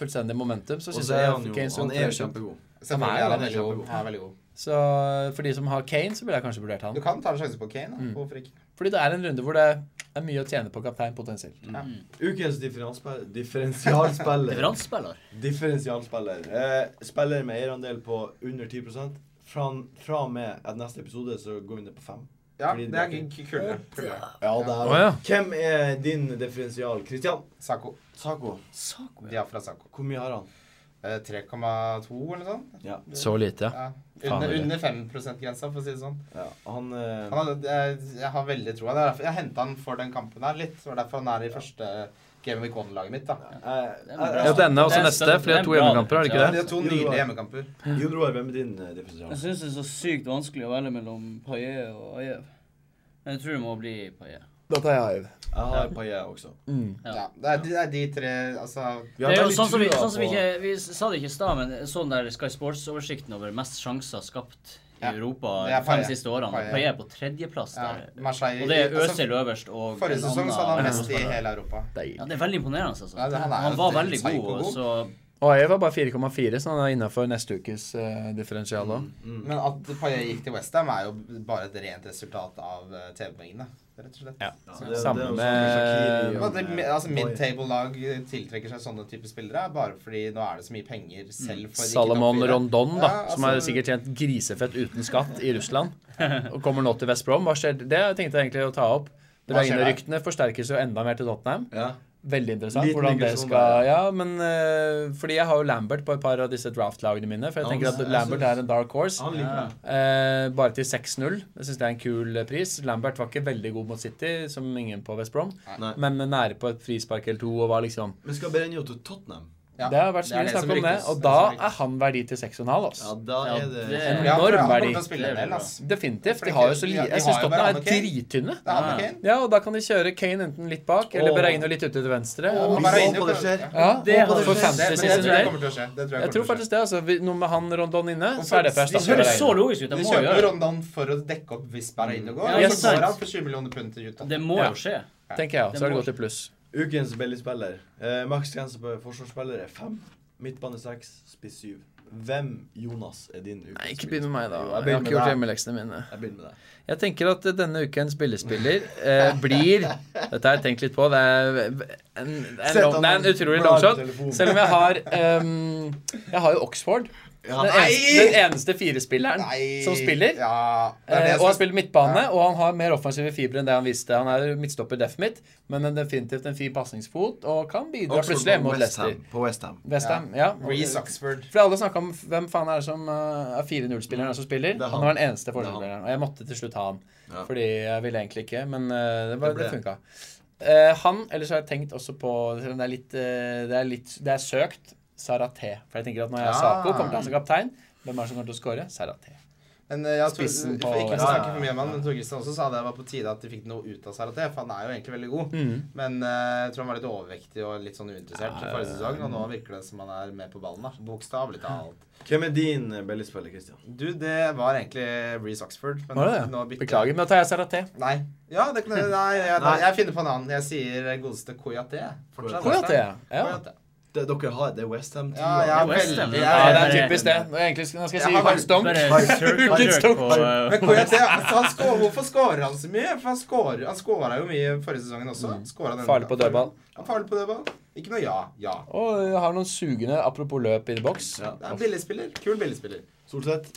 fullstendig momentum, så Og syns så er jeg han jo Kane så Han er fresh ut. kjempegod. Selvfølgelig Han er er han veldig god. kjempegod. Han er veldig god. Så for de som har Kane, så ville jeg kanskje vurdert han. Du kan ta en sjanse på Kane. da. Hvorfor ikke? Fordi det er en runde hvor det er mye å tjene på kaptein potensielt. Ukens differensialspiller. Differensialspiller. Randspiller. differensialspiller. Eh, spiller med eierandel på under 10 Fra, fra og med at neste episode så går vi ned på 5. Ja, Fordi det er det- k- kulere. kulere. Ja, det er Å, ja. Hvem er din differensial? Christian? Sako. Sako. Saco, ja. Diafra Sako. Hvor mye har han? Eh, 3,2 eller noe sånt. Ja. Så lite, Ja. Faen, Under, det er- under 5 %-grensa, for å si det sånn. ja. Han eh, Han hadde, jeg, jeg har veldig troa. Det er derfor- Jeg henta han for den kampen her litt. Det var derfor han er i første Game of Icon-laget mitt. da. Ja, denne og Det så er neste, støtt- fordi det er to det er bra, hjemmekamper, er det ikke De det? har to nydelige hjemmekamper. Jon Roar, hvem er din eh, differensial? Jeg syns det er så sykt vanskelig å velge mellom Paillet og Ajev. Men jeg tror det må bli Paillet. Da tar jeg Aiv. Jeg har Paillet også. Ja. Ja, det, er, det er de tre altså, Vi Det er jo veldig sånn som vi, trua sånn som vi på- ikke Vi sa det ikke i stad, men sånn der Sky Sports-oversikten over mest sjanser skapt i Ja. Europa Det er de fem Paillet. siste årene. Paillet. Paillet er på tredjeplass ja, der. Marseille Og det er altså, Øzil øverst og Forrige en sesong annen- så hadde han mest i Ja, hele Europa. Det er veldig imponerende, altså. Ja, det- han er han jo var helt veldig god, og psyko-god. så Og Aiv var bare 4,4, så han er innafor neste ukes eh, differensial Mm. òg. Men at Paillet gikk til Westham, er jo bare et rent resultat av eh, TV-poengene. Rett og slett. Ja. Ja, det- det er Samme jo sånn med- Shaqiri Men og- at det- altså, Paillet. Midtable-lag tiltrekker seg sånne type spillere bare fordi nå er det så mye Mm. penger selv for de ikke Salomon topp fire. Rondon, da, Ja, som har altså- sikkert tjent grisefett uten skatt i Russland, og kommer nå til West Brom. Hva skjer? Det tenkte jeg egentlig å ta opp. Hva skjer der? Draine-ryktene forsterkes jo enda mer til Tottenham. Ja. Veldig interessant Liten hvordan det digresjon skal der, Ja, men eh, Fordi jeg har jo Lambert på et par av disse draft-lagene mine. For jeg Ja, tenker men at jeg Lambert synes- er en dark horse. Han liker meg. Eh, bare til 6-0. Jeg syns det er en kul eh, pris. Lambert var ikke veldig god mot City, som ingen på West Brom. Nei. Men nære på et frispark eller to. Og var liksom Men skal Berenio til Tottenham? Ja, Det har vært så er mye som snakk om det. ryktes. Og Det da er det er som han verdi til 6,5. Ja, Altså. da Ja, er det det- ryktes. Ja, for enorm han kommer verdi. til å spille Det en blir del, bra. ass. Definitivt. For det De er har jo så ikke- li Jeg de- de har syns jo Tottenham er hverandre, Kane. drittynne. Det er han Ja. og Kane. Ja, og da kan de kjøre Kane enten litt bak, eller Åh. Bereino litt ute til venstre. Ja, Vi bare så inne på på det det. skjer. Ja, Det og hadde for skjedd. Det, fantasy men det sin tror jeg del. kommer til å skje. Det tror jeg Jeg tror kommer til å skje. faktisk det. altså vi, Noe med han Rondon inne, Og så er det for å faktisk- Altså, Det erstatte høres så Bereino. logisk ut. De Det må jo kjøper gjøre det. Rondon for å dekke opp hvis Berreino går. Ja, og så sant. går han for 20 millioner pund til Utah. Det må Ja. jo skje. Tenker jeg, Det så har det må- gått i pluss. Ukens billigspiller. Eh, Maks grense på forsvarsspillere fem. Midtbane seks, spiss syv. Hvem, Jonas, er din ukens Nei, ikke begynn med meg, da. Jo, Jeg har begynner ikke gjort med deg. hjemmeleksene mine. Jeg begynner med deg. Jeg tenker at denne ukens billigspiller eh, blir Dette har jeg tenkt litt på. Det er en, en, Sett long, at det er han en utrolig blar på longshot. telefonen. Selv om jeg har ehm, Jeg har jo Oxford. Ja, Den eneste, den eneste firespilleren Nei. som spiller. Ja, det er det Eh, og som- han spiller midtbane, og han har mer offensive fibre enn det han viste. Han er midtstopper def midt, men en definitivt en fin pasningsfot og kan bidra Oxford plutselig på mot West Ham. Leicester. På Westham. Westham, ja. Reece Oxford. For alle snakka om hvem faen er det som eh, er 4-0-spilleren som spiller. Det er han. Han. var den eneste er han. forsvarsspilleren. Og jeg måtte til slutt ha han. Ja. Fordi jeg ville egentlig ikke, men eh, det, bare- Det ble det funka. Eh, han, ellers har jeg tenkt også på selv om Det er litt, eh, det er litt, det er søkt Sarate. For jeg tenker at når jeg har Ah. Sako, kommer til han som kaptein. Hvem er det som kommer til å score? Sarate. Men eh, jeg tror, Spissen på- Ja, ikke for å ja, snakke for mye om han, ja. men Tor Christian også sa det var på tide at de fikk noe ut av Saraté, for han er jo egentlig veldig god. Men eh, jeg tror han var litt overvektig og litt sånn uinteressert Mm. Ja, forrige sesong, og nå virker det som han er med på ballen, da. Bokstavelig talt. Hvem er din eh, Belly-spiller, Christian? Du, det var egentlig Reece Oxford, men Var det det? nå bytter jeg. Beklager, men da tar jeg Sarate. Nei. Ja, det, nei, jeg, jeg, Nei. jeg finner på en annen. Jeg sier godeste Koyate. Fortsatt. Koyate, ja. Ja. Koyate. Det, dere har, det er Westham-teamet. Ja, jeg er Det er West Ham, veldig ja. Ja, jeg- det er typisk det. Nå er jeg egentlig- Nå skal jeg si Jeg har- Johan Stonk. Bare circle jerk Stonk. på Men Koyate, altså, han skår, hvorfor skårer han så mye? For han skårer, han skåra jo mye forrige sesongen også. Skåret den- Mm. Farlig på dødball. Ja, farlig på dødball. Ikke noe ja. Ja. Og jeg har noen sugende apropos løp i boks. Ja. Det er en billigspiller. Kul billigspiller. Solseth.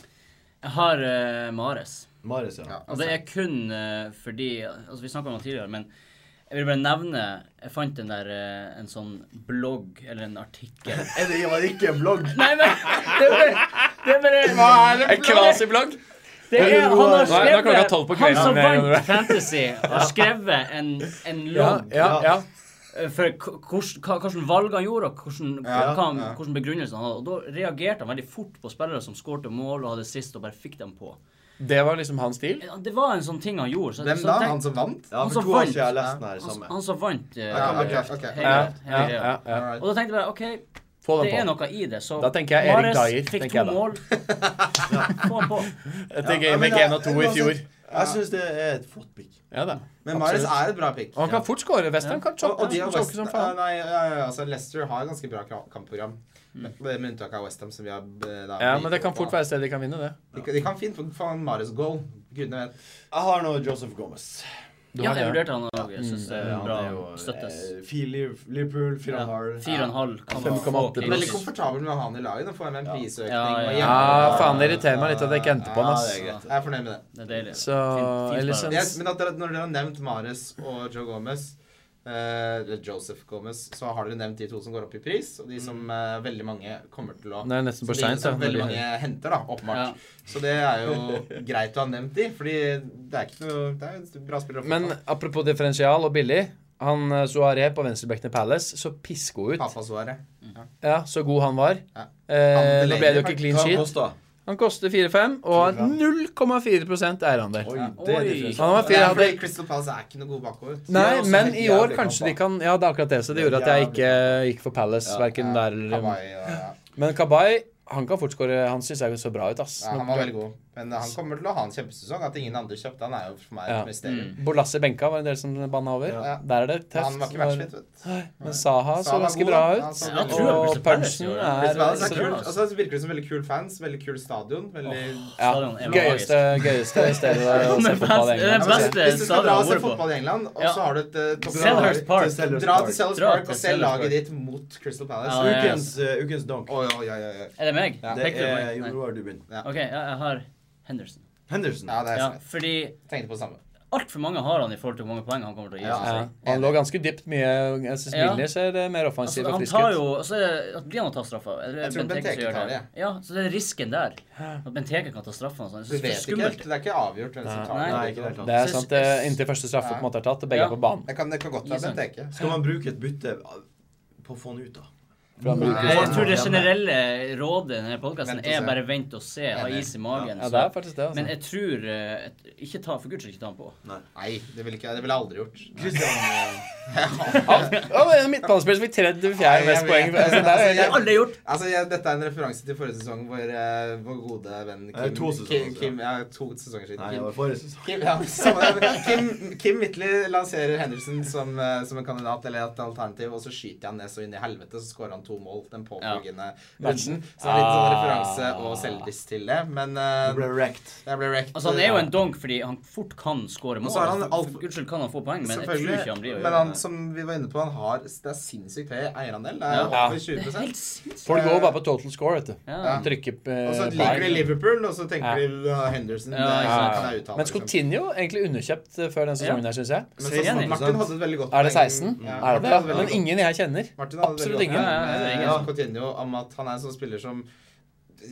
Jeg har eh, Mares. Marius, ja. Ja, Og Altså, det Altså. er kun eh, fordi Altså, vi snakka om det tidligere, men jeg vil bare nevne Jeg fant en der eh, En sånn blogg eller en artikkel Er det var ikke en blogg? Nei, men det er bare, det er bare En kvasiblogg. Det er, han Nå har er- nå er klokka skrevet tolv på Han kvelden. som Ja, det er jo det. vant Fantasy, har skrevet en, en Ja, logg ja, ja. eh, for k- hvordan- hva- hvilke valg han gjorde, og hvordan, Ja, hva han- ja. hvordan begrunnelsen han hadde. Og da reagerte han veldig fort på spillere som skårte mål og hadde sist, og bare fikk dem på. Det var liksom hans stil. Ja, Det var en sånn ting han gjorde. Så, Hvem så da? tenk- Han som vant? Ja, Han for som to år vant. siden liksom. har jeg lest den her han, samme. han som vant. eh, Ja, kan ok, bekrefte. ok. hele- Ja, hele ja, greia. ja, ja. Alright. Og da tenkte jeg bare OK, Få det er den på. noe i det. Så Da tenker jeg Mahrez Erik Dyer, fikk tenker jeg to da. mål. Få han på. Etter Ja, men Gamek da- 1 og 2 i uansett- fjor. Jeg syns det er et flott pick. Ja da. Men Marius Absolutt. er et bra pick. Og han kan fort score. Western kan Og, choppe og de har choppe West, som faen. nei, ja, ja, ja, altså Leicester har ganske bra kra- kampprogram. Mm. Med, med unntak av Westham, som vi har eh, da, Ja, men det kan på. fort være et sted de kan vinne, det. De, kan- de kan fint få få en Marius goal. Gudene vet. Jeg har nå Joseph Gomez. Du Ja, har jeg det. Mm. vurderte han òg. Jeg syns det eh, er Han bra. er jo, Støttes. eh, fire Liv- Liverpool, fire og en halv. Fire og en halv kan man 5,8 få. pluss. Veldig komfortabel med å ha han i laget. Og få med en prisøkning. Ja, ja. og hjemme- Ja, faen, det irriterer meg litt at jeg ikke endte på han, ass. Ja, det er greit. Jeg er fornøyd med det. Det er deilig. Så Fint- fint ellers en bare. Jeg, men at dere, når dere har nevnt Mares og Joe Gomez eh, Eller Joseph Gomez, så har dere nevnt de to som går opp i pris, og de som eh, veldig mange kommer til å Det er nesten for de seint. som veldig mange henter, da, åpenbart. Så det er jo greit å ha nevnt de, fordi det er ikke noe Det er jo bra spillere å få Men tak i. apropos differensial og billig. Han eh, Suaré på venstrebekken i Palace så pisko ut. Papa Suare. Ja, så god han var. Ja. Eh, Han nå ble det jo legger ikke clean Hva sheet. kosta? Han koster 4-5 og har 0,4 eierandel. Oi, Ja. det er Oi. differensielt. Han var Det fire, er hadde... fordi Crystal Palace er ikke noe gode bakover. Nei, altså, også men helt i år jævlig kanskje de kamper. kan Ja, det er akkurat det. Så det Det er gjorde at jeg jævlig ikke gikk for Palace. Ja, Hverken Ja, der eller Hawaii, ja, ja. Men Kabay, han kan fort score. Han syns jeg jo så bra ut, ass. Ja, han var veldig god. Men han kommer til å ha en kjempesesong. At ingen andre kjøpte han, er jo for meg Ja. et Mm. mysterium. Bolassi benka var en del som banna over. Ja. Ja. Der er det tøft. Han var ikke matchfit, vet du. Men Saha så Saha var ganske god, bra da. Han ut. så Jeg veldig tror det god. Og blir Crystal Palace i punchen år. Crystal er Palace er kult. Altså, det virker som veldig kul fans, veldig kul stadion. Veldig ja, Stadion er gøyeste, gøyeste stedet å se Men eh, best- fotball i England. det synes jeg. beste Hvis du skal stadion jeg dra og har se vært på. fotball i England, og Ja. så har du et eh, topp- Selhurst Park. Til Selhurst Dra til Park. Sellers Dra Park til og se Selhurst Park. laget ditt mot Crystal Ja, Palace. ja, ja. Ukens, eh, ukens donk. Oi, oi, oi, oi. Er det meg? Ja. Det Pekte du på er meg? Jon Nei. Roar Dubin. OK, ja, jeg har Henderson. Henderson. Ja, det er Ja, sant. fordi Tenkte på det samme. altfor mange har han i forhold til hvor mange poeng han kommer til å gi. altså. Ja. synes Ja, jeg. og han lå ganske dypt mye. Jeg synes Ja. Milner ser eh, mer Altså, offensiv og han frisk tar ut. jo altså, at Blir han å ta straffa? Eller Jeg Benteke tror som Benteke gjør tar det. Ja, så det er risken der. At Benteke kan ta straffa. og sånn. Jeg Du synes det er vet ikke helt. skummelt. Det er ikke avgjort hvem som tar Nei. Nei, det. ikke i det hele tatt. Det er Synes- sant, eh, inntil første straffe på en måte er tatt, og begge Ja. er på banen. Det kan, det kan godt Gi være sant. Benteke. Skal man bruke et bytte på å få han ut, da? For han bruker Nei. Jeg tror det generelle rådet i denne podkasten sånn- Vent og er se. bare vent og se, ha Enig. is i magen. Ja, så- det er faktisk det, Men altså. jeg tror eh, et- Ikke ta For guds skyld, ikke ta han på. Nei, det ville ikke- det ville jeg aldri gjort. Christian, eh, Ja, men en midtbanespiller som fikk tredje eller Nei, fjerde jeg mest vet. poeng. Altså, det er, Det har alle gjort. Altså, jeg, Dette er en referanse til forrige sesong hvor eh, vår gode venn Eh, Kim to sesonger siden. Kim, Kim, ja, to sesonger siden. Nei, det Kim, var forrige sesong. Kim, ja, samme- Kim, Kim Midtly lanserer Henderson som, eh, som en kandidat eller et alternativ, og så skyter han ned så inn i helvete, så skårer han to mål den påfølgende runden. Så det er litt sånn referanse og selvdiss til det, men eh, Ah. Det ble wrecked. jeg ble wrecked. eh, Altså Han er jo en donk fordi han fort kan skåre mål. Og så er han Altså, alt- for guds skyld kan han få poeng, men jeg tror ikke han blir Selvfølgelig. å Men gjøre han, som vi var inne på, han har, det er sinnssykt høy eierandel. Det Ja. er over det. er 20 Helt sinnssykt. folk går jo bare på total score, vet du. Ja. Trykker eh, Og så bein. liker de Liverpool, og så tenker de «Å, Henderson. Ja, det liksom. ikke sant. kan jeg uttale. Men Coutinho egentlig underkjøpt eh, før den sesongen her, syns jeg. Men så, Enig. Martin hadde et veldig godt Er det poeng. 16? Ja, Er det Martin det? hadde et veldig Men godt ingen jeg kjenner. Martin hadde Absolutt veldig godt ingen. poeng, Ja, ja, ja, eh, ingen. om Coutinho om at han er en sånn spiller som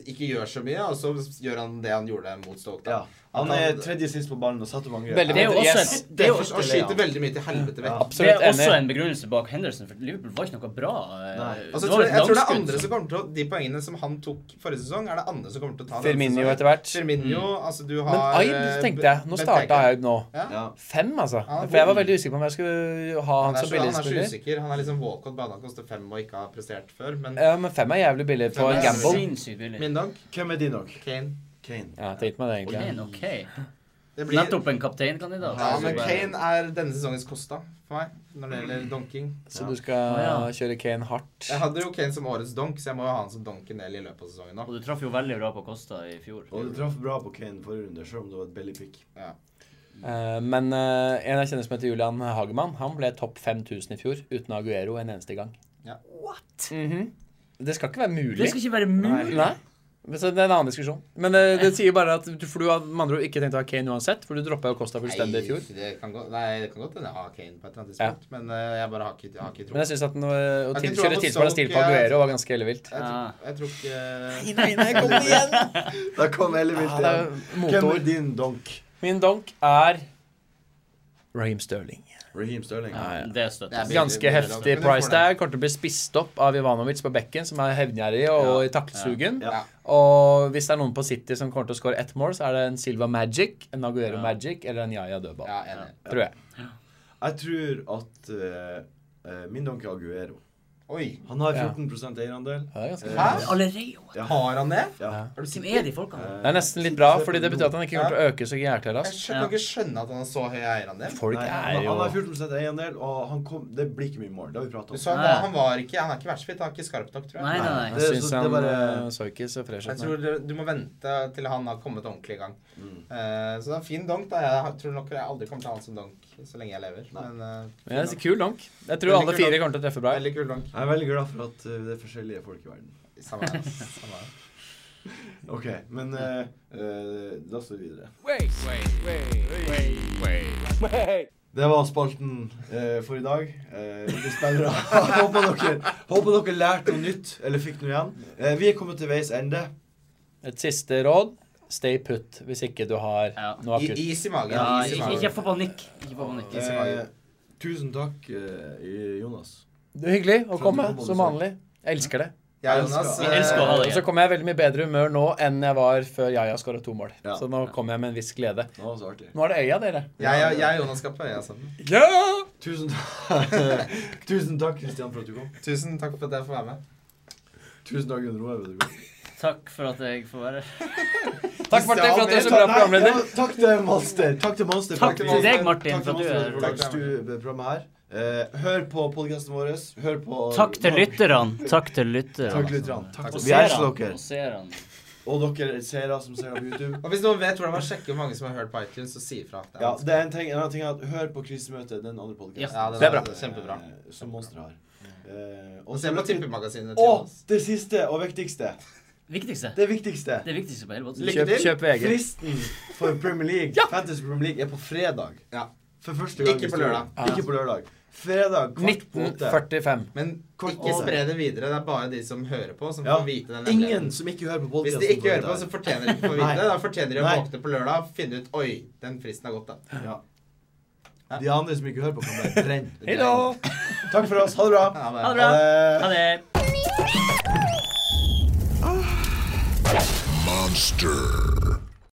ikke gjør så mye, og så gjør han det han gjorde mot Stoke. da. Ja. Han er tredje sist på ballen og setter mange Veldig Det er jo også Yes. en, det er jo, Og skyter veldig mye til helvete vekk. det Absolutt er også enig. en begrunnelse bak Henderson, for Liverpool var ikke noe bra. eh, Nei. det Altså, jeg, var et tror, jeg tror det er langskudd andre som- som kommer til å De poengene som han tok forrige sesong, er det andre som kommer til å ta. denne Firmino sesongen. etter hvert. Mm. Firmino, altså du har Men Aib, tenkte jeg. Nå starta Aib nå. Ja. Fem, altså. Ja, For jeg var veldig usikker på om jeg skulle ha han Han er, som så, han er så billigspiller. usikker. Han er liksom Walcott bare han koster fem og ikke har prestert før. Men Ja, men fem er jævlig billig på en Fem er gamble. Sinnssykt billig. min dag Hvem er din nok? Kane. Kane. Ja, tenkte meg Ok, det, egentlig. ok. Det blir, Nettopp en kapteinkandidat. ja, Altså, men bare- Kane er denne sesongens Costa for meg når det gjelder donking. Så Ja. du skal Å, ja. kjøre Kane hardt. Jeg hadde jo Kane som årets donk, så jeg må jo ha han som donk en del i løpet av sesongen nå. Og du traff jo veldig bra på Costa i fjor. Og du traff bra på Kane forrige runde, selv om det var et billig pick. Eh, Men eh, en jeg kjenner som heter Julian Hagemann, han ble topp 5000 i fjor uten Aguero en eneste gang. Ja. What? Det skal ikke være Det mulig. skal ikke være mulig. Nei. Men Så det er en annen diskusjon. Men det, det sier bare at du, For du har med andre ord ikke tenkt å ha Kane uansett, for du droppa jo Costa fullstendig i fjor. Nei, det kan godt- nei, det kan godt hende jeg har Kane på et eller annet tidspunkt, men eh, jeg bare har ikke, jeg har ikke tro. Men jeg syns at den, øh, å Jeg til, kan tro han kjøre får tilsvarende stil på solgt, ja. Aguero var ganske ellevilt. Jeg, Ah. tror- jeg tror ikke Nei, nei, kom igjen! Da kom Ellevilt Det er igjen. Hvem er motord. din donk? Min donk er Raheem Sterling. Raheem Sterling. Det støtter jeg. Det er Ganske heftig Men du får price tag. Kommer til å bli spist opp av Ivanovic på bekken, som er hevngjerrig og i taktsugen. Ja. Og hvis det er noen på City som kommer til å score ett mål, så er det en Silva Magic, en Aguero Ja. Magic eller en Yaya Dødball. Ja, enig. Tror jeg. Jeg tror at eh, eh, min donk er Aguero. Oi. Han har Ja. 14 eierandel. Ja, det er ganske Eh, Hæ? Allerede. Har han det? Ja. Er du Hvem sikker? er de folkene? Eh, Det er nesten litt bra, fordi det betyr at han ikke kommer til å øke så jæklig Jeg raskt. skjønner, kan ikke skjønne at han har så høy eierandel. Folk Nei, er han, jo han har 14 eierandel, og han kom, det blir ikke mye mål. Det har vi Du pratet om. sa han, var, han var ikke Han er ikke vertsfit, han er ikke skarp nok, tror jeg. Nei, nei, nei. Jeg Det- syns så det han bare- øh, så ikke så fresh Jeg ut. nå. tror du- du må vente til han har kommet ordentlig i gang. Mm. Eh, så det er en fin donk. da Jeg tror nok jeg aldri kommer til å ha han som donk så lenge jeg lever. Nei. Men eh, Men jeg er fin så kul donk. Jeg tror Veldig alle kul fire donk. kommer til å treffe donk. bra. Veldig kul donk. Jeg er veldig glad for at eh, det er forskjellige folk i verden. Samme her. ass. Samme her. Ok, men eh, eh, la oss gå videre. Det var spalten eh, for i dag. Eh, vi spillere. håper, dere, håper dere lærte noe nytt, eller fikk noe igjen. Eh, vi er kommet til veis ende. Et siste råd stay put hvis ikke du har Ja. noe I, akutt. is i magen. Ja, is i ikke, magen. ikke få panikk. Ikke få panikk. Is i magen. Eh, tusen takk, eh, Jonas. Det er hyggelig å Skjønner komme, du hva du som sier? vanlig. Jeg elsker det. Jeg og Jonas Vi eh, elsker å ha Og deg. så kommer jeg i veldig mye bedre humør nå enn jeg var før Jaja skåra to mål. Ja. Så nå kommer jeg med en viss glede. Det var så artig. Nå er det øya, dere. Jeg, jeg, jeg og Jonas skal på øya sammen. Ja! Tusen, ta- tusen takk, Kristian, for at du kom. Tusen takk for at jeg får være med. Tusen takk, Gunn Roar. for at du kom. Takk for at jeg får være her. Takk, Martin, for at du er så bra Nei, programleder. ja, Takk til Monster. Takk til Monster. for Takk at til vi- Monster. deg, Martin, Takk for at til du er Monster. Takk til programmet her. Eh, hør på podkasten vår. Hør på Takk til lytterne. Takk Takk til lytterne. til lytterne. Takk. Og Vi elsker seerne. dere. Og seerne. Og dere seere som ser det på YouTube. Og hvis noen vet hvordan man sjekker hvor mange som har hørt på iTunes, så si ifra. Ja, det er en ting, en annen ting er at Hør på krisemøtet, den andre podkasten. Ja, Det er bra. Kjempebra. Som Monster har. Eh, Og se på tippemagasinet til og oss. det siste og viktigste. Viktigste. Det viktigste. Det viktigste på hele båten. Kjøp, Lykke til. kjøp VG. Fristen for Premier League, Fantasy Premier League, er på fredag. Ja. For første gang. i Ikke på historien. lørdag. Ja. Ikke på lørdag. Fredag kvart på åtte. 1945. Men Kort ikke og- spre det videre. Det er bare de som hører på, som Ja. får vite den Ingen som ikke hører på Hvis podkasten. de ikke hører på, så fortjener de ikke å få vite Nei. det. Da fortjener de å Nei. våkne på lørdag og finne ut Oi, den fristen har gått, da. ja. De andre som ikke hører på, kan bare brenne. Hei da! Takk for oss. Ha det bra. Ja, det er- Ha det bra. Ha det. Monster.